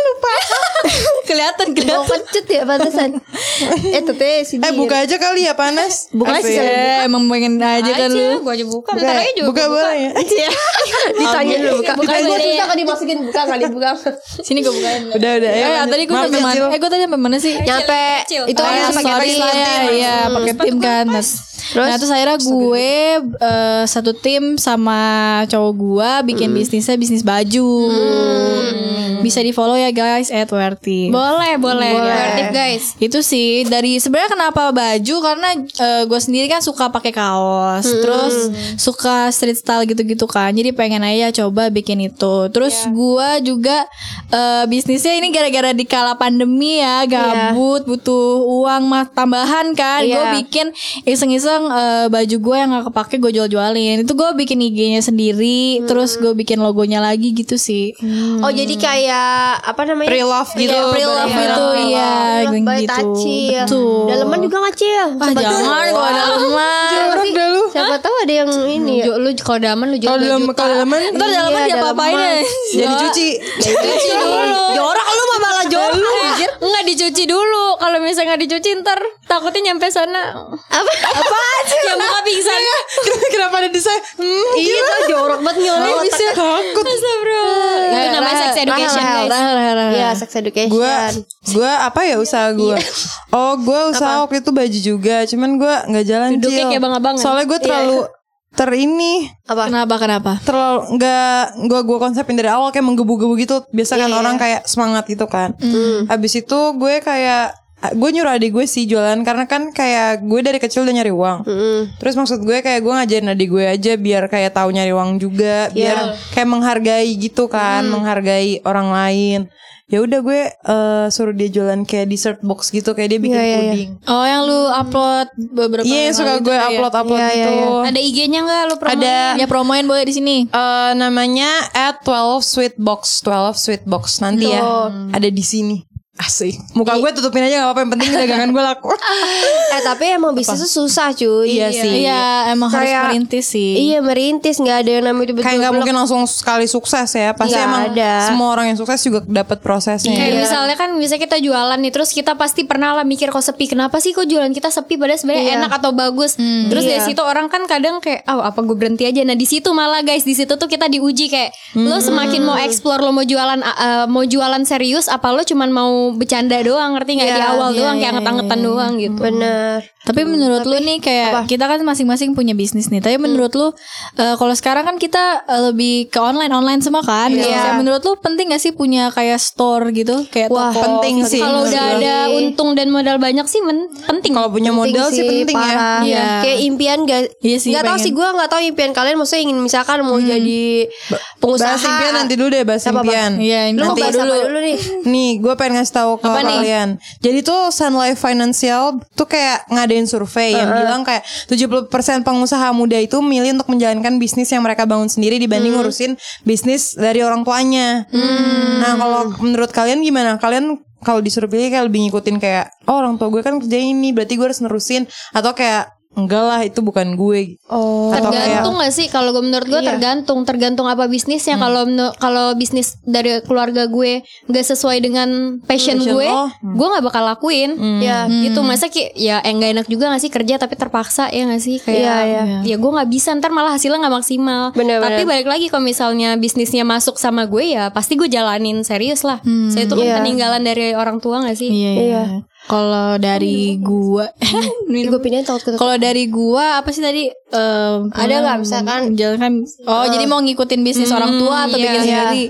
[SPEAKER 2] Lupa
[SPEAKER 6] Kelihatan
[SPEAKER 3] Bau
[SPEAKER 6] kelihatan
[SPEAKER 3] kecut ya pantesan. Eh, tete sini.
[SPEAKER 2] Eh buka aja kali ya panas
[SPEAKER 6] Bukan
[SPEAKER 2] Apa
[SPEAKER 6] sih
[SPEAKER 2] ya?
[SPEAKER 6] emang pengen aja kan lu.
[SPEAKER 4] gue aja buka
[SPEAKER 2] Buka,
[SPEAKER 4] bentar aja juga
[SPEAKER 2] buka boleh ya
[SPEAKER 3] Ditanya dulu buka.
[SPEAKER 4] Buka
[SPEAKER 3] Eh, gua
[SPEAKER 4] dulu.
[SPEAKER 3] susah kalau dimasukin buka kali buka.
[SPEAKER 6] Sini gue bukain.
[SPEAKER 2] Udah udah
[SPEAKER 6] Eh,
[SPEAKER 2] ya
[SPEAKER 6] tadi gue sampai mana? Eh, gue tadi sampai mana sih?
[SPEAKER 3] Nyampe
[SPEAKER 4] Kecil.
[SPEAKER 3] itu
[SPEAKER 6] Oh,
[SPEAKER 3] harus
[SPEAKER 6] ya,
[SPEAKER 3] pakai
[SPEAKER 6] sorry
[SPEAKER 3] tim.
[SPEAKER 6] lah ya, iya pakai tim kan. Nah,
[SPEAKER 3] Terus?
[SPEAKER 6] Nah terus akhirnya gue eh, satu tim sama cowok gue bikin bisnisnya bisnis baju. Bisa di follow ya guys at Werty.
[SPEAKER 4] Boleh, boleh. Kreatif guys.
[SPEAKER 6] Itu sih dari sebenarnya kenapa baju karena eh, gue sendiri kan suka pakai kaos, terus suka street style gitu-gitu kan. Jadi pengen aja coba bikin itu. Terus gua gue juga eh, bisnisnya ini gara-gara di kala pandemi ya, gabut, butuh uang mah tambahan kan. Gue
[SPEAKER 3] Iya.
[SPEAKER 6] bikin iseng-iseng eh, baju gue yang gak kepake gue jual-jualin. Itu gue bikin IG-nya sendiri, terus
[SPEAKER 2] Mm.
[SPEAKER 6] gue bikin logonya lagi gitu sih.
[SPEAKER 3] Oh jadi kayak apa namanya? Iya,
[SPEAKER 2] Pre-love gitu.
[SPEAKER 6] Kayak pre-love gitu ya,
[SPEAKER 3] Pre-love by iya. Tacil.
[SPEAKER 6] Betul.
[SPEAKER 3] Daleman juga nggak cil.
[SPEAKER 6] Ah,
[SPEAKER 3] Siapa tahu-
[SPEAKER 6] jangan kalau ada lemah.
[SPEAKER 2] Jorok dah lu.
[SPEAKER 3] Siapa tahu ada yang ini ya.
[SPEAKER 4] Ju- Lu kalau daman lu
[SPEAKER 2] Kalau
[SPEAKER 4] jual
[SPEAKER 2] dalam
[SPEAKER 4] baju.
[SPEAKER 2] kalau daleman
[SPEAKER 6] Ntar
[SPEAKER 3] Iya,
[SPEAKER 6] dalaman dia
[SPEAKER 3] dalaman.
[SPEAKER 6] apa-apain ya?
[SPEAKER 2] jadi cuci.
[SPEAKER 6] Cuci dulu.
[SPEAKER 2] Jorok lu mah malah jorok.
[SPEAKER 4] Anjir, Nggak dicuci dulu. Kalau misalnya nggak dicuci ntar takutnya nyampe sana.
[SPEAKER 3] Apa? Apa?
[SPEAKER 4] Ya muka pingsan.
[SPEAKER 2] Kenapa ada desain? Hmm,
[SPEAKER 3] Iya tuh jorok banget nyolong.
[SPEAKER 2] oh, bisa takut.
[SPEAKER 4] Itu namanya sex education
[SPEAKER 3] Rahel,
[SPEAKER 4] guys.
[SPEAKER 3] Rahel, Rahel, Rahel. Iya sex education.
[SPEAKER 2] gue gue apa ya usaha gue oh gue usaha waktu itu baju juga cuman gue nggak jalan
[SPEAKER 4] Duduknya
[SPEAKER 2] Cil.
[SPEAKER 4] kayak abang-abangan.
[SPEAKER 2] soalnya gue terlalu ter ini
[SPEAKER 3] apa?
[SPEAKER 6] Kenapa kenapa?
[SPEAKER 2] terlalu nggak gue gue konsepin dari awal kayak menggebu-gebu gitu biasa kan orang kayak semangat gitu kan habis itu gue kayak gue nyuruh adik gue sih jualan karena kan kayak gue dari kecil udah nyari uang terus maksud gue kayak gue ngajarin adik gue aja biar kayak tahu nyari uang juga biar kayak menghargai gitu kan menghargai orang lain ya udah gue eh, suruh dia jualan kayak dessert box gitu kayak dia bikin puding
[SPEAKER 6] Oh yang lu upload beberapa
[SPEAKER 2] iya yang suka gue upload upload gitu
[SPEAKER 4] Ada IG-nya nggak lu promo?
[SPEAKER 2] ada
[SPEAKER 6] Ya promoin boleh di sini.
[SPEAKER 2] Eh, namanya at 12 sweet box 12 sweet box nanti ya ada di sini asik muka gue tutupin aja gak apa-apa yang penting dagangan gue laku
[SPEAKER 3] Eh tapi emang bisnis tuh susah cuy.
[SPEAKER 2] Iya sih.
[SPEAKER 6] Iya, emang
[SPEAKER 3] Kayak-
[SPEAKER 6] harus merintis sih.
[SPEAKER 3] Iya merintis nggak ada yang namanya tiba-tiba.
[SPEAKER 2] kayak nggak
[SPEAKER 3] blok.
[SPEAKER 2] mungkin langsung sekali sukses ya pasti
[SPEAKER 3] Nggak
[SPEAKER 2] emang
[SPEAKER 3] ada.
[SPEAKER 2] semua orang yang sukses juga dapat prosesnya
[SPEAKER 4] Kayak misalnya kan bisa kita jualan nih terus kita pasti pernah lah mikir kok sepi kenapa sih kok jualan kita sepi padahal sebenarnya
[SPEAKER 2] Iya.
[SPEAKER 4] enak atau bagus
[SPEAKER 2] Hmm.
[SPEAKER 4] terus dari situ orang kan kadang kayak ah apa gue berhenti aja nah di situ malah guys di situ tuh kita diuji kayak lo
[SPEAKER 2] Hmm.
[SPEAKER 4] semakin mau explore lo mau jualan uh, mau jualan serius apa lo cuman mau bercanda doang ngerti nggak
[SPEAKER 2] Iya,
[SPEAKER 4] di awal doang kayak anget-angetan doang gitu
[SPEAKER 3] Bener.
[SPEAKER 6] Tapi menurut lu nih kayak kita kan masing-masing punya bisnis nih. Tapi menurut lu eh, kalau sekarang kan kita eh, lebih ke online online semua kan. bisnisnya. Menurut lu penting gak sih punya kayak store gitu kayak
[SPEAKER 2] Wah,
[SPEAKER 6] toko?
[SPEAKER 2] penting sih
[SPEAKER 4] kalau
[SPEAKER 2] menurut
[SPEAKER 4] udah Iya.
[SPEAKER 2] gue.
[SPEAKER 3] Iya.
[SPEAKER 4] ada untung dan modal banyak sih men- penting
[SPEAKER 2] kalau punya modal sih penting ya
[SPEAKER 3] parah.
[SPEAKER 6] Iya.
[SPEAKER 3] Kayak impian gak
[SPEAKER 6] Iya sih,
[SPEAKER 3] Gak tau
[SPEAKER 6] pengen.
[SPEAKER 3] sih gue gak tau impian kalian Maksudnya ingin misalkan mau jadi pengusaha
[SPEAKER 2] bahas impian nanti dulu deh bahas
[SPEAKER 3] Apa-apa?
[SPEAKER 2] impian
[SPEAKER 6] Iya,
[SPEAKER 3] Lu mau
[SPEAKER 6] nanti
[SPEAKER 3] bahas apa dulu nih
[SPEAKER 2] Nih, gue pengen ngasih tahu ke kalian. Jadi tuh Sun Life Financial tuh kayak ngadain survei yang bilang kayak 70% pengusaha muda itu milih untuk menjalankan bisnis yang mereka bangun sendiri dibanding ngurusin bisnis dari orang tuanya. Nah, kalau menurut kalian gimana? Kalian kalau disuruh pilih kayak lebih ngikutin kayak oh orang tua gue kan kerja ini, berarti gue harus nerusin atau kayak enggak lah itu bukan gue.
[SPEAKER 3] Oh
[SPEAKER 2] Atau kayak-
[SPEAKER 4] tergantung gak sih kalau gue menurut
[SPEAKER 3] Iya.
[SPEAKER 4] gue tergantung tergantung apa bisnisnya
[SPEAKER 3] Hmm.
[SPEAKER 4] kalau menu- kalau bisnis dari keluarga gue nggak sesuai dengan passion,
[SPEAKER 2] Passion
[SPEAKER 4] gue
[SPEAKER 2] lo,
[SPEAKER 3] Hmm.
[SPEAKER 4] gue nggak bakal lakuin
[SPEAKER 3] Iya.
[SPEAKER 4] ya gitu masa ki ya eh, nggak enak juga gak sih kerja tapi terpaksa ya gak sih kayak
[SPEAKER 3] Iya, iya.
[SPEAKER 4] ya gue nggak bisa ntar malah hasilnya nggak maksimal
[SPEAKER 3] Bener,
[SPEAKER 4] tapi
[SPEAKER 3] bener.
[SPEAKER 4] balik lagi kalau misalnya bisnisnya masuk sama gue ya pasti gue jalanin serius lah saya itu kan
[SPEAKER 3] Iya.
[SPEAKER 4] peninggalan dari orang tua gak sih
[SPEAKER 6] Iya. iya. Kalau dari Iya, gua
[SPEAKER 3] Gue pindahin takut ketutup
[SPEAKER 6] Kalau dari gua apa sih tadi Em,
[SPEAKER 3] Ada nggak
[SPEAKER 6] mem-
[SPEAKER 3] misalkan- Eh. Hmm, iya,
[SPEAKER 6] menjalankan oh jadi mau ngikutin bisnis orang tua atau bikin sendiri?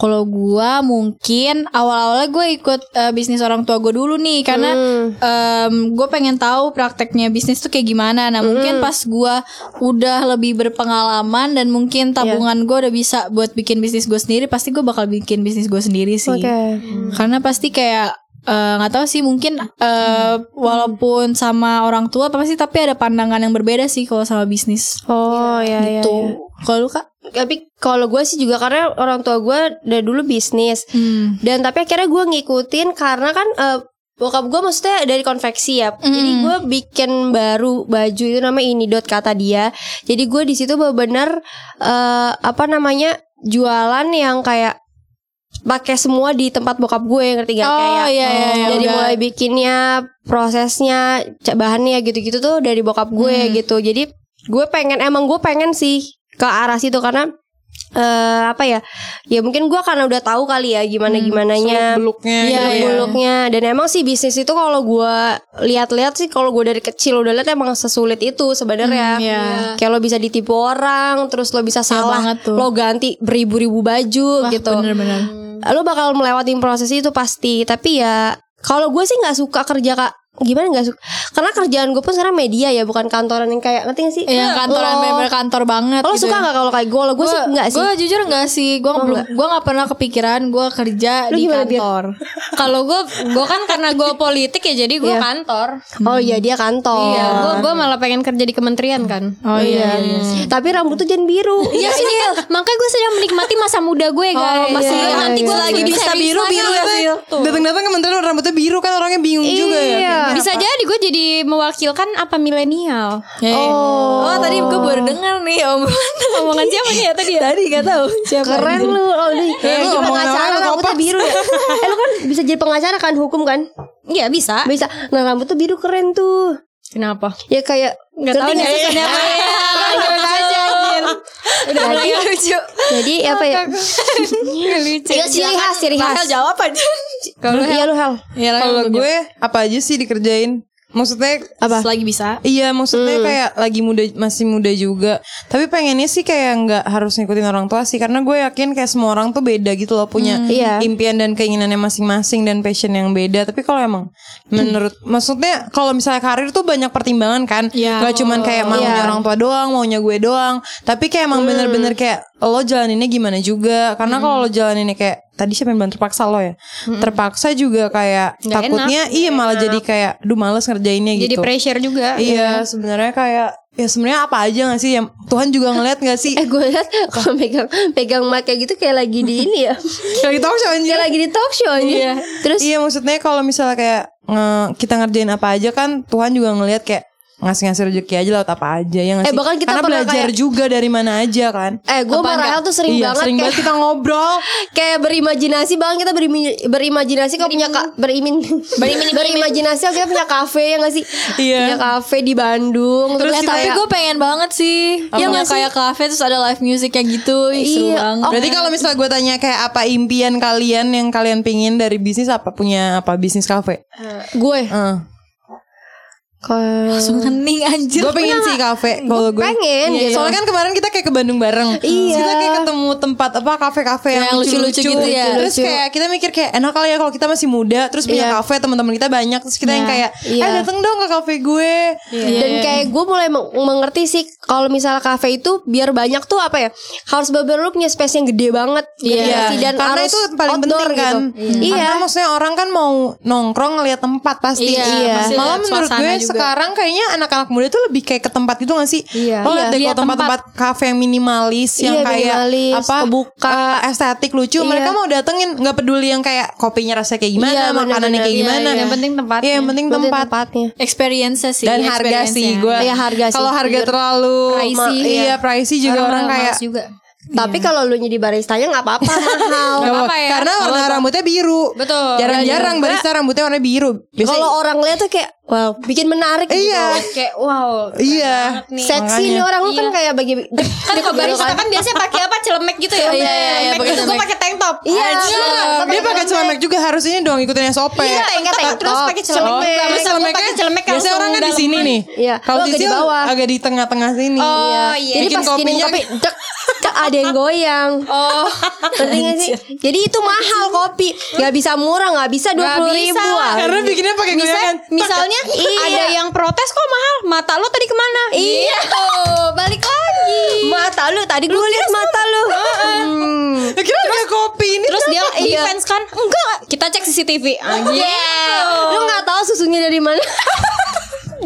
[SPEAKER 6] Kalau gua mungkin awal-awalnya gue ikut eh, bisnis orang tua gue dulu nih karena
[SPEAKER 3] Hmm.
[SPEAKER 6] gue pengen tahu prakteknya bisnis tuh kayak gimana. Nah
[SPEAKER 3] Hmm.
[SPEAKER 6] mungkin pas gua udah lebih berpengalaman dan mungkin tabungan
[SPEAKER 3] Iya.
[SPEAKER 6] gua udah bisa buat bikin bisnis gue sendiri, pasti gue bakal bikin bisnis gue sendiri sih.
[SPEAKER 3] Iya. Hmm.
[SPEAKER 6] Karena pasti kayak eh, nggak tahu sih mungkin eh, walaupun sama orang tua apa sih tapi ada pandangan yang berbeda sih kalau sama bisnis.
[SPEAKER 3] Oh ya ya,
[SPEAKER 6] gitu.
[SPEAKER 3] ya.
[SPEAKER 6] Kalau lu Kak?
[SPEAKER 3] Tapi kalau gue sih juga karena orang tua gue dari dulu bisnis
[SPEAKER 6] Hmm.
[SPEAKER 3] Dan tapi akhirnya gue ngikutin karena kan eh, Bokap gue maksudnya dari konveksi ya, jadi gue bikin baru baju itu nama ini dot kata dia. Jadi gue di situ benar-benar eh, apa namanya jualan yang kayak pakai semua di tempat bokap gue ngerti gak
[SPEAKER 6] Oh,
[SPEAKER 3] kayak
[SPEAKER 6] iya, iya, iya,
[SPEAKER 3] dari
[SPEAKER 6] udah.
[SPEAKER 3] mulai bikinnya prosesnya ca- bahannya gitu-gitu tuh dari gitu.
[SPEAKER 6] Hmm.
[SPEAKER 3] bokap gue gitu jadi gue pengen emang gue pengen sih ke arah situ karena eh, apa ya? Ya mungkin gua karena udah tahu kali ya gimana
[SPEAKER 6] Hmm,
[SPEAKER 3] gimananya
[SPEAKER 2] Beluknya
[SPEAKER 6] Iya,
[SPEAKER 3] seluk beluknya dan emang sih bisnis itu kalau gua lihat-lihat sih kalau gua dari kecil udah lihat emang sesulit itu sebenarnya.
[SPEAKER 6] Hmm, iya.
[SPEAKER 3] Kayak lo bisa ditipu orang, terus lo bisa salah,
[SPEAKER 6] banget tuh.
[SPEAKER 3] lo ganti beribu-ribu baju
[SPEAKER 6] Wah,
[SPEAKER 3] gitu.
[SPEAKER 6] bener-bener.
[SPEAKER 3] Lo bakal melewati proses itu pasti, tapi ya kalau gue sih nggak suka kerja kak gimana nggak suka karena kerjaan gue pun sekarang media ya bukan kantoran yang kayak ngerti gak sih
[SPEAKER 6] Yang Iya, kantoran
[SPEAKER 3] Lo-
[SPEAKER 6] bener-bener kantor banget
[SPEAKER 3] lo
[SPEAKER 6] gitu
[SPEAKER 3] suka
[SPEAKER 6] ya.
[SPEAKER 3] nggak kalau kayak gue lo gue sih nggak sih
[SPEAKER 6] Gue jujur nggak sih. Gue
[SPEAKER 3] Oh,
[SPEAKER 6] belum.
[SPEAKER 3] nggak.
[SPEAKER 6] Gue nggak pernah kepikiran gue kerja
[SPEAKER 3] Lu
[SPEAKER 6] di
[SPEAKER 3] gimana, Dir?
[SPEAKER 6] kantor.
[SPEAKER 4] Kalau gue gue kan karena gue politik ya jadi gue
[SPEAKER 3] Iya.
[SPEAKER 4] kantor.
[SPEAKER 3] oh iya dia kantor
[SPEAKER 4] Iya, gue gue malah pengen kerja di kementerian kan.
[SPEAKER 6] Oh iya.
[SPEAKER 3] tapi rambut tuh jangan biru
[SPEAKER 4] Iya sih, makanya gue sedang menikmati masa muda gue guys.
[SPEAKER 3] masih
[SPEAKER 4] Iya,
[SPEAKER 3] muda.
[SPEAKER 4] nanti gue lagi bisa biru biru ya.
[SPEAKER 2] Datang-datang kementerian rambutnya biru kan orangnya bingung juga ya.
[SPEAKER 3] Iya.
[SPEAKER 2] kayaknya.
[SPEAKER 4] Bisa jadi gue jadi mewakilkan apa milenial.
[SPEAKER 6] Oh. tadi gue baru dengar nih omongan.
[SPEAKER 4] Omongan siapa nih ya tadi? ya?
[SPEAKER 6] tadi gak tahu siapa.
[SPEAKER 3] keren lu oh, lu
[SPEAKER 2] Eh,
[SPEAKER 3] jadi
[SPEAKER 2] lu omongan
[SPEAKER 3] pengacara
[SPEAKER 2] orang lu
[SPEAKER 3] rambutnya
[SPEAKER 2] kompas.
[SPEAKER 3] biru ya eh lu kan bisa jadi pengacara kan hukum kan
[SPEAKER 4] Iya bisa.
[SPEAKER 3] bisa nah rambutnya biru keren tuh
[SPEAKER 4] Kenapa?
[SPEAKER 3] ya kayak
[SPEAKER 4] Gak tahu
[SPEAKER 3] ngerti
[SPEAKER 4] nih
[SPEAKER 3] sih?
[SPEAKER 4] alasannya apa ya.
[SPEAKER 3] Udah jadi, lucu jadi apa ya ya
[SPEAKER 4] Iya,
[SPEAKER 3] ciri khas ciri khas jawab aja iya lu hal
[SPEAKER 6] Ya,
[SPEAKER 2] Kalau gue apa aja sih dikerjain? Maksudnya
[SPEAKER 6] apa? Lagi bisa.
[SPEAKER 2] Iya maksudnya kayak lagi muda masih muda juga Tapi pengennya sih kayak nggak harus ngikutin orang tua sih Karena gue yakin kayak semua orang tuh beda gitu loh Punya
[SPEAKER 3] Iya.
[SPEAKER 2] impian dan keinginannya masing-masing Dan passion yang beda Tapi kalau emang menurut Maksudnya kalau misalnya karir tuh banyak pertimbangan kan
[SPEAKER 6] Iya.
[SPEAKER 2] Gak cuman kayak maunya
[SPEAKER 3] Iya.
[SPEAKER 2] orang tua doang Maunya gue doang Tapi kayak emang bener-bener kayak Lo jalaninnya gimana juga Karena kalau lo jalaninnya kayak Tadi siapa yang bilang terpaksa lo ya Terpaksa juga kayak
[SPEAKER 4] Nggak
[SPEAKER 2] Takutnya iya malah jadi kayak Duh males ngerjainnya gitu
[SPEAKER 4] Jadi pressure juga.
[SPEAKER 2] Iya, sebenarnya kayak ya sebenarnya apa aja gak sih yang Tuhan juga ngeliat gak sih?
[SPEAKER 3] eh gue liat kalau pegang pegang mic kayak gitu kayak lagi di ini ya
[SPEAKER 2] Kayak tahu sih anjir.
[SPEAKER 3] kayak lagi di talk show aja iya, terus
[SPEAKER 2] Iya, maksudnya kalau misalnya kayak nge- kita ngerjain apa aja kan Tuhan juga ngeliat kayak ngasih-ngasih rezeki aja lewat apa aja ya nggak
[SPEAKER 3] Eh,
[SPEAKER 2] sih?
[SPEAKER 3] bahkan kita
[SPEAKER 2] Karena
[SPEAKER 3] pernah
[SPEAKER 2] belajar
[SPEAKER 3] kayak-
[SPEAKER 2] juga dari mana aja kan.
[SPEAKER 3] eh gue sama Rahel tuh sering
[SPEAKER 2] Iya,
[SPEAKER 3] banget
[SPEAKER 2] sering
[SPEAKER 3] kayak
[SPEAKER 2] banget kita ngobrol.
[SPEAKER 3] kayak berimajinasi bahkan kita berimi- berimajinasi kalau punya ka, berimin berimajinasi kalau kita punya kafe ya nggak sih
[SPEAKER 2] Iya.
[SPEAKER 3] punya kafe di Bandung terus,
[SPEAKER 6] Eh, tapi
[SPEAKER 3] kayak-
[SPEAKER 6] gue pengen banget sih.
[SPEAKER 3] Apa?
[SPEAKER 6] Yang
[SPEAKER 3] Iya gak
[SPEAKER 6] kayak kafe terus ada live music kayak gitu. Ih, Seru
[SPEAKER 3] Iya.
[SPEAKER 6] banget.
[SPEAKER 2] Berarti kalau misalnya gue tanya kayak apa impian kalian yang kalian pingin dari bisnis apa punya apa bisnis kafe? Eh.
[SPEAKER 6] gue
[SPEAKER 2] Heeh.
[SPEAKER 3] Ke-
[SPEAKER 6] langsung hening anjir.
[SPEAKER 2] Gue pengen
[SPEAKER 3] Iya,
[SPEAKER 2] sih kafe kalau gue.
[SPEAKER 3] pengen
[SPEAKER 2] Iya,
[SPEAKER 3] gitu.
[SPEAKER 2] Soalnya kan kemarin kita kayak ke Bandung bareng.
[SPEAKER 3] Iya.
[SPEAKER 2] Kita kayak ketemu tempat apa kafe-kafe yang,
[SPEAKER 6] Yang lucu-lucu gitu ya.
[SPEAKER 2] Terus kayak kita mikir kayak enak kali ya kalau kita masih muda terus punya
[SPEAKER 3] Iya.
[SPEAKER 2] kafe teman-teman kita banyak terus kita yang kayak eh
[SPEAKER 3] Iya.
[SPEAKER 2] dateng dong ke kafe gue.
[SPEAKER 3] dan kayak gue mulai meng- mengerti sih kalau misalnya kafe itu biar banyak tuh apa ya harus bener lu punya space yang gede banget gitu
[SPEAKER 2] Iya.
[SPEAKER 3] sih? dan
[SPEAKER 2] Karena
[SPEAKER 3] harus
[SPEAKER 2] itu paling
[SPEAKER 3] outdoor
[SPEAKER 2] penting kan.
[SPEAKER 3] gitu. iya
[SPEAKER 2] Karena maksudnya orang kan mau nongkrong ngeliat tempat pasti.
[SPEAKER 6] Iya,
[SPEAKER 3] Iya.
[SPEAKER 6] pasti
[SPEAKER 2] Malah
[SPEAKER 6] lihat
[SPEAKER 2] menurut
[SPEAKER 6] suasana
[SPEAKER 2] gue
[SPEAKER 6] juga.
[SPEAKER 2] sekarang kayaknya anak-anak muda tuh lebih kayak ke tempat itu gak sih?
[SPEAKER 3] Iya.
[SPEAKER 2] Lo liat
[SPEAKER 3] Iya,
[SPEAKER 2] deh
[SPEAKER 4] lihat
[SPEAKER 2] kalau tempat-tempat kafe yang minimalis yang
[SPEAKER 3] Iya,
[SPEAKER 2] kayak
[SPEAKER 3] minimalis,
[SPEAKER 2] apa eh, estetik lucu.
[SPEAKER 3] Iya.
[SPEAKER 2] Mereka mau datengin nggak peduli yang kayak kopinya rasanya kayak gimana,
[SPEAKER 3] Iya, bener-bener.
[SPEAKER 2] makanannya kayak
[SPEAKER 3] Iya,
[SPEAKER 2] gimana.
[SPEAKER 4] yang penting tempat.
[SPEAKER 2] Iya, yang penting
[SPEAKER 3] Berarti
[SPEAKER 2] tempat.
[SPEAKER 3] tempatnya
[SPEAKER 6] experience sih.
[SPEAKER 2] Dan harga sih gue.
[SPEAKER 3] Iya, harga sih.
[SPEAKER 2] Kalau harga
[SPEAKER 3] Jujur.
[SPEAKER 2] terlalu
[SPEAKER 4] Pricey.
[SPEAKER 2] ma- iya pricey juga orang, kayak
[SPEAKER 4] juga.
[SPEAKER 3] tapi kalau lu jadi baristanya nggak apa-apa mahal
[SPEAKER 2] Nggak
[SPEAKER 4] apa-apa ya.
[SPEAKER 2] Karena warna rambutnya biru.
[SPEAKER 4] Betul. Iya.
[SPEAKER 2] Jarang-jarang barista rambutnya warna biru. Biasanya
[SPEAKER 3] kalau orang lihat tuh kayak wow bikin menarik
[SPEAKER 2] Iya.
[SPEAKER 3] gitu
[SPEAKER 4] Kayak wow.
[SPEAKER 2] iya.
[SPEAKER 3] seksi nih orang lu kan kayak bagi
[SPEAKER 4] Kan kalau barista kan biasanya pakai apa celemek gitu ya. Iya,
[SPEAKER 6] iya, pakai
[SPEAKER 4] Terus gue pakai tank top.
[SPEAKER 3] Iya,
[SPEAKER 4] Anjir.
[SPEAKER 2] Dia pakai celemek juga harus ini dong ikutin SOP.
[SPEAKER 4] Iya, tank top. Terus pakai celemek.
[SPEAKER 2] Oh,
[SPEAKER 3] Eh,
[SPEAKER 4] juga.
[SPEAKER 2] terus
[SPEAKER 4] Masa gua
[SPEAKER 2] celemeknya
[SPEAKER 4] pakai celemek
[SPEAKER 2] biasanya
[SPEAKER 4] langsung
[SPEAKER 2] orang kan di
[SPEAKER 4] dalam.
[SPEAKER 2] sini nih.
[SPEAKER 3] Iya.
[SPEAKER 2] Kalau
[SPEAKER 3] Lu
[SPEAKER 2] di
[SPEAKER 3] agak di
[SPEAKER 2] sini
[SPEAKER 3] bawah.
[SPEAKER 2] agak di tengah-tengah sini.
[SPEAKER 4] Oh iya.
[SPEAKER 3] jadi
[SPEAKER 2] Bikin
[SPEAKER 3] pas gini
[SPEAKER 2] kopinya-
[SPEAKER 3] kopi dek dek, ada yang goyang
[SPEAKER 4] Oh.
[SPEAKER 3] Ngerti nggak sih? Jadi itu mahal kopi, nggak bisa murah, nggak bisa dua
[SPEAKER 4] Nggak
[SPEAKER 3] puluh
[SPEAKER 4] bisa
[SPEAKER 3] ribu. Iya.
[SPEAKER 4] lah.
[SPEAKER 2] Karena kan bikinnya pakai
[SPEAKER 4] Misal,
[SPEAKER 2] goyangan.
[SPEAKER 4] misalnya ada yang protes kok mahal mata lo tadi kemana iya balik lagi
[SPEAKER 3] Mata lu tadi gue lihat mata lu. Hmm.
[SPEAKER 2] Ya, Kira pakai kopi ini.
[SPEAKER 4] terus dia
[SPEAKER 3] Iya.
[SPEAKER 4] defense kan enggak kita cek CCTV anjir
[SPEAKER 3] Lu nggak tahu susunya dari mana?
[SPEAKER 4] Gitu.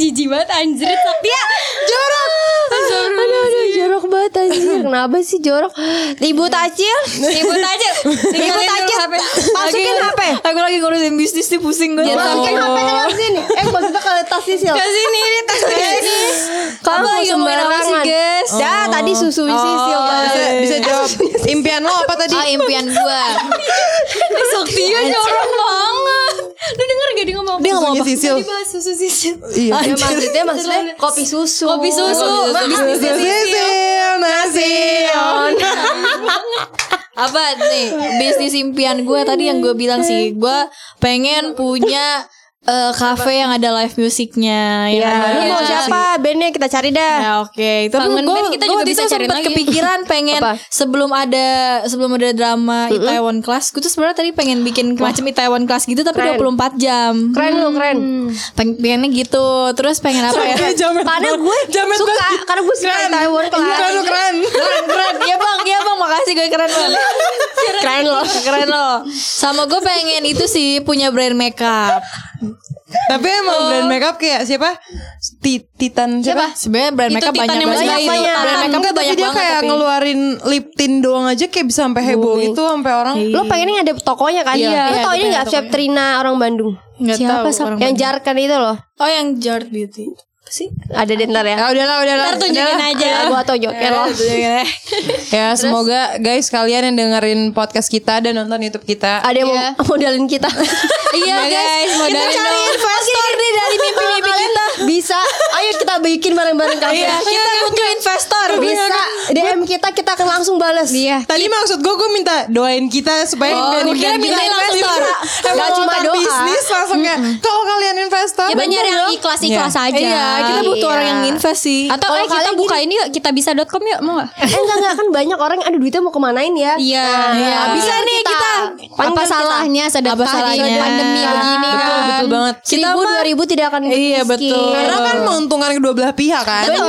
[SPEAKER 4] jijik banget anjir tapi ya
[SPEAKER 3] jorok. aduh, aduh, jorok banget anjir. Kenapa sih jorok? Ibu Tacil,
[SPEAKER 4] ibu aja ibu aja
[SPEAKER 3] masukin HP.
[SPEAKER 6] Aku lagi ngurusin bisnis nih pusing gue.
[SPEAKER 3] Masukin HP ke sini. Eh, maksudnya ke tas sih, Sil.
[SPEAKER 4] sini ini tas ini
[SPEAKER 3] Kamu mau
[SPEAKER 6] lagi ngomongin apa sih,
[SPEAKER 3] sembarangan.
[SPEAKER 6] guys?
[SPEAKER 3] Ya, tadi susu isi, Sil.
[SPEAKER 6] Oh, iya,
[SPEAKER 2] Bisa, bisa jawab impian lo apa tadi?
[SPEAKER 6] Ah,
[SPEAKER 3] iya.
[SPEAKER 6] impian gue.
[SPEAKER 4] Saktia jorok banget lu denger gak dia ngomong
[SPEAKER 2] Dia ngomong apa? Sisil.
[SPEAKER 4] dibahas susu sisil
[SPEAKER 2] Iya.
[SPEAKER 3] Ya, maksudnya maksudnya kopi susu.
[SPEAKER 4] kopi susu
[SPEAKER 2] Sisil, Sisil, Nasion.
[SPEAKER 6] apa nih bisnis impian gue tadi yang gue bilang sih gue pengen punya eh, cafe yang ada live musiknya
[SPEAKER 2] Iya.
[SPEAKER 6] yang ada-
[SPEAKER 3] Lu mau siapa? Bandnya kita cari
[SPEAKER 4] Nah,
[SPEAKER 3] dah.
[SPEAKER 6] Ya oke, itu
[SPEAKER 4] Kangen
[SPEAKER 6] gue
[SPEAKER 4] band kita juga bisa cariin
[SPEAKER 6] sempet
[SPEAKER 4] lagi.
[SPEAKER 6] kepikiran pengen
[SPEAKER 3] Apa?
[SPEAKER 6] sebelum ada sebelum ada drama Itaewon Class, gue tuh sebenarnya tadi pengen bikin macam Itaewon Class gitu tapi
[SPEAKER 3] Keren.
[SPEAKER 6] 24 jam. Hmm.
[SPEAKER 3] Keren lu, keren.
[SPEAKER 6] Peng- pengennya gitu. Terus pengen apa ya?
[SPEAKER 3] Karena gue suka, karena gue suka Taiwan
[SPEAKER 2] Keren, lu
[SPEAKER 3] kelas.
[SPEAKER 2] keren.
[SPEAKER 6] keren keren ya bang ya bang makasih gue keren bang keren loh keren loh sama gue pengen itu sih punya brand makeup
[SPEAKER 2] Tapi emang brand makeup kayak siapa? Ti- Titan siapa?
[SPEAKER 6] sebenarnya brand
[SPEAKER 4] Itu
[SPEAKER 6] makeup
[SPEAKER 4] Titan
[SPEAKER 6] banyak
[SPEAKER 4] yang
[SPEAKER 6] banget
[SPEAKER 4] masih banyak.
[SPEAKER 6] brand
[SPEAKER 4] Titan.
[SPEAKER 6] makeup
[SPEAKER 2] Enggak,
[SPEAKER 6] tuh
[SPEAKER 2] tapi
[SPEAKER 6] banyak
[SPEAKER 2] dia
[SPEAKER 6] banget
[SPEAKER 2] kayak
[SPEAKER 6] tapi-
[SPEAKER 2] ngeluarin lip tint doang aja kayak bisa sampai heboh gitu sampai orang
[SPEAKER 3] Lo pengennya ada tokonya kan?
[SPEAKER 6] Iya,
[SPEAKER 3] Lo
[SPEAKER 6] iya,
[SPEAKER 3] tau
[SPEAKER 6] ada
[SPEAKER 3] ini
[SPEAKER 6] pengen
[SPEAKER 3] gak
[SPEAKER 6] tokonya.
[SPEAKER 3] Chef Trina orang Bandung?
[SPEAKER 6] Nggak
[SPEAKER 3] Siapa
[SPEAKER 6] tahu
[SPEAKER 3] Sab?
[SPEAKER 6] orang
[SPEAKER 3] Yang jarkan itu loh.
[SPEAKER 6] oh yang Jart Beauty apa sih
[SPEAKER 3] Ada deh ntar ya.
[SPEAKER 2] Ya udahlah, udahlah.
[SPEAKER 4] Ntar tunjukin
[SPEAKER 2] Udahlah.
[SPEAKER 4] aja.
[SPEAKER 3] Gue atau joker loh.
[SPEAKER 2] Iya. Ya, semoga guys kalian yang dengerin podcast kita dan nonton YouTube kita
[SPEAKER 3] Ada yang mau modalin kita.
[SPEAKER 6] iya guys
[SPEAKER 3] kita
[SPEAKER 6] modalin
[SPEAKER 3] cari
[SPEAKER 6] dong.
[SPEAKER 3] investor nih dari mimpi-mimpi kita. Bisa. Ayo kita bikin bareng-bareng kafe.
[SPEAKER 6] Iya, kita butuh investor
[SPEAKER 2] Iya,
[SPEAKER 4] Iya,
[SPEAKER 2] kan?
[SPEAKER 3] Bisa.
[SPEAKER 4] kan?
[SPEAKER 3] DM kita kita akan langsung balas. Iya.
[SPEAKER 2] Tadi maksud gue gue minta doain kita supaya
[SPEAKER 6] Oh,
[SPEAKER 2] dan-
[SPEAKER 6] kira
[SPEAKER 2] dan
[SPEAKER 6] minta
[SPEAKER 2] kita investor.
[SPEAKER 6] investor.
[SPEAKER 3] Nggak
[SPEAKER 2] Emang
[SPEAKER 3] cuma
[SPEAKER 2] cuma
[SPEAKER 3] doa.
[SPEAKER 2] bisnis langsung kayak kalau kalian investor
[SPEAKER 4] Ya banyak yang
[SPEAKER 2] bener
[SPEAKER 4] ikhlas ikhlas aja.
[SPEAKER 6] iya kita butuh orang yang invest sih
[SPEAKER 4] Atau
[SPEAKER 3] Kalau
[SPEAKER 4] eh kita
[SPEAKER 3] kalian
[SPEAKER 4] buka ini yuk kita bisa.com yuk mau nggak?
[SPEAKER 3] Eh enggak enggak kan banyak orang yang ada duitnya mau kemanain ya.
[SPEAKER 4] Iya.
[SPEAKER 6] iya.
[SPEAKER 3] Bisa nih kita. Panggil
[SPEAKER 4] Apa
[SPEAKER 3] kita.
[SPEAKER 4] salahnya sedekah
[SPEAKER 6] Apa
[SPEAKER 4] di
[SPEAKER 6] salahnya?
[SPEAKER 4] pandemi
[SPEAKER 6] Iya.
[SPEAKER 4] begini
[SPEAKER 2] Betul,
[SPEAKER 4] kan?
[SPEAKER 2] betul banget.
[SPEAKER 3] Seribu
[SPEAKER 6] mah-
[SPEAKER 3] dua ribu tidak akan
[SPEAKER 6] Iya,
[SPEAKER 3] miskin.
[SPEAKER 6] betul.
[SPEAKER 2] Karena kan menguntungkan kedua belah pihak kan.
[SPEAKER 3] Betul.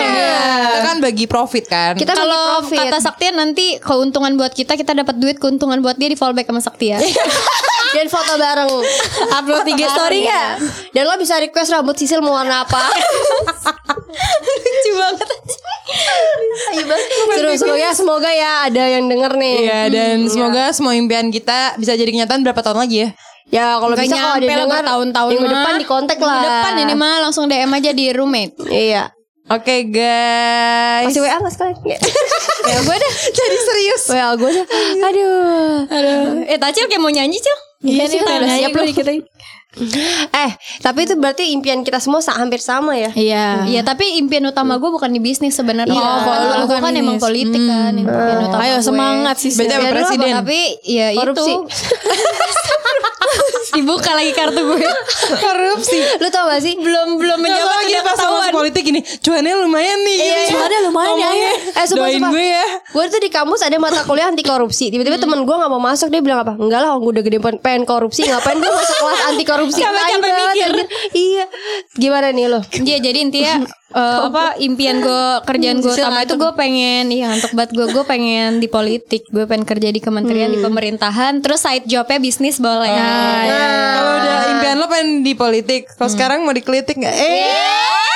[SPEAKER 2] Kita kan bagi profit kan.
[SPEAKER 3] Kita bagi
[SPEAKER 4] Kalau
[SPEAKER 3] profit.
[SPEAKER 4] kata Saktia nanti keuntungan buat kita kita dapat duit keuntungan buat dia di fallback sama ya. Saktia.
[SPEAKER 3] dan foto bareng.
[SPEAKER 6] upload tiga story nggak
[SPEAKER 3] Dan lo bisa request rambut sisil mau warna apa?
[SPEAKER 6] lucu banget
[SPEAKER 4] Iya
[SPEAKER 3] Seru seru ya semoga ya ada yang denger nih.
[SPEAKER 2] Iya dan semoga semua impian kita bisa jadi kenyataan berapa tahun lagi ya?
[SPEAKER 3] Ya kalau
[SPEAKER 4] Nggak
[SPEAKER 3] bisa kalau ada
[SPEAKER 4] nyampe
[SPEAKER 3] yang
[SPEAKER 4] lah
[SPEAKER 3] denger
[SPEAKER 4] bertahun-tahun
[SPEAKER 3] minggu
[SPEAKER 4] mah.
[SPEAKER 3] depan di kontak lah.
[SPEAKER 4] Minggu depan ini mah langsung DM aja di roommate.
[SPEAKER 3] Iya.
[SPEAKER 2] Oke guys.
[SPEAKER 3] Masih WA nggak sekalian?
[SPEAKER 4] ya gue dah.
[SPEAKER 2] jadi serius.
[SPEAKER 3] WA gue dah. Aduh.
[SPEAKER 4] Eh Tacil kayak mau nyanyi Cil?
[SPEAKER 6] iya nih
[SPEAKER 4] udah
[SPEAKER 6] nanya
[SPEAKER 4] siap
[SPEAKER 6] gue
[SPEAKER 4] lu.
[SPEAKER 6] dikatain.
[SPEAKER 3] Eh, tapi itu berarti impian kita semua sa- hampir sama ya.
[SPEAKER 6] iya
[SPEAKER 4] Iya tapi impian utama gue bukan di bisnis sebenarnya.
[SPEAKER 6] Oh,
[SPEAKER 4] Kan
[SPEAKER 6] kalau lu
[SPEAKER 4] gue kan
[SPEAKER 6] bisnis.
[SPEAKER 4] emang politik kan. Impian utama
[SPEAKER 6] Ayo
[SPEAKER 4] gue.
[SPEAKER 6] semangat sih.
[SPEAKER 2] Beda sama
[SPEAKER 4] Impian lu apa?
[SPEAKER 2] presiden.
[SPEAKER 4] Tapi ya
[SPEAKER 3] Korupsi.
[SPEAKER 4] itu dibuka lagi kartu gue.
[SPEAKER 2] Korupsi.
[SPEAKER 3] Lu tau gak sih? Belum belum
[SPEAKER 2] Kalau lagi pas ngomong politik ini, cuannya lumayan nih.
[SPEAKER 3] Iya,
[SPEAKER 2] gitu.
[SPEAKER 3] cuannya lumayan ya.
[SPEAKER 2] Ngomongnya,
[SPEAKER 3] Eh, sumpah,
[SPEAKER 2] Doain
[SPEAKER 3] sumpah.
[SPEAKER 2] gue ya.
[SPEAKER 3] Gue tuh di kampus ada mata kuliah anti korupsi. Tiba-tiba temen gue gak mau masuk dia bilang apa? Enggak lah, orang gue udah gede pen- pengen korupsi, ngapain gue masuk kelas anti korupsi?
[SPEAKER 4] Capek-capek
[SPEAKER 3] Tai banget,
[SPEAKER 4] mikir.
[SPEAKER 3] anjir. Iya. Gimana nih lo?
[SPEAKER 4] Iya jadi intinya eh, apa impian gue kerjaan gue utama itu gue pengen iya untuk buat gue gue pengen di politik gue pengen kerja di kementerian di pemerintahan terus side jobnya bisnis boleh Nah,
[SPEAKER 2] iya.
[SPEAKER 4] Iya.
[SPEAKER 2] Kalau udah impian lo pengen di politik, kalau sekarang mau dikelitik nggak? Eh,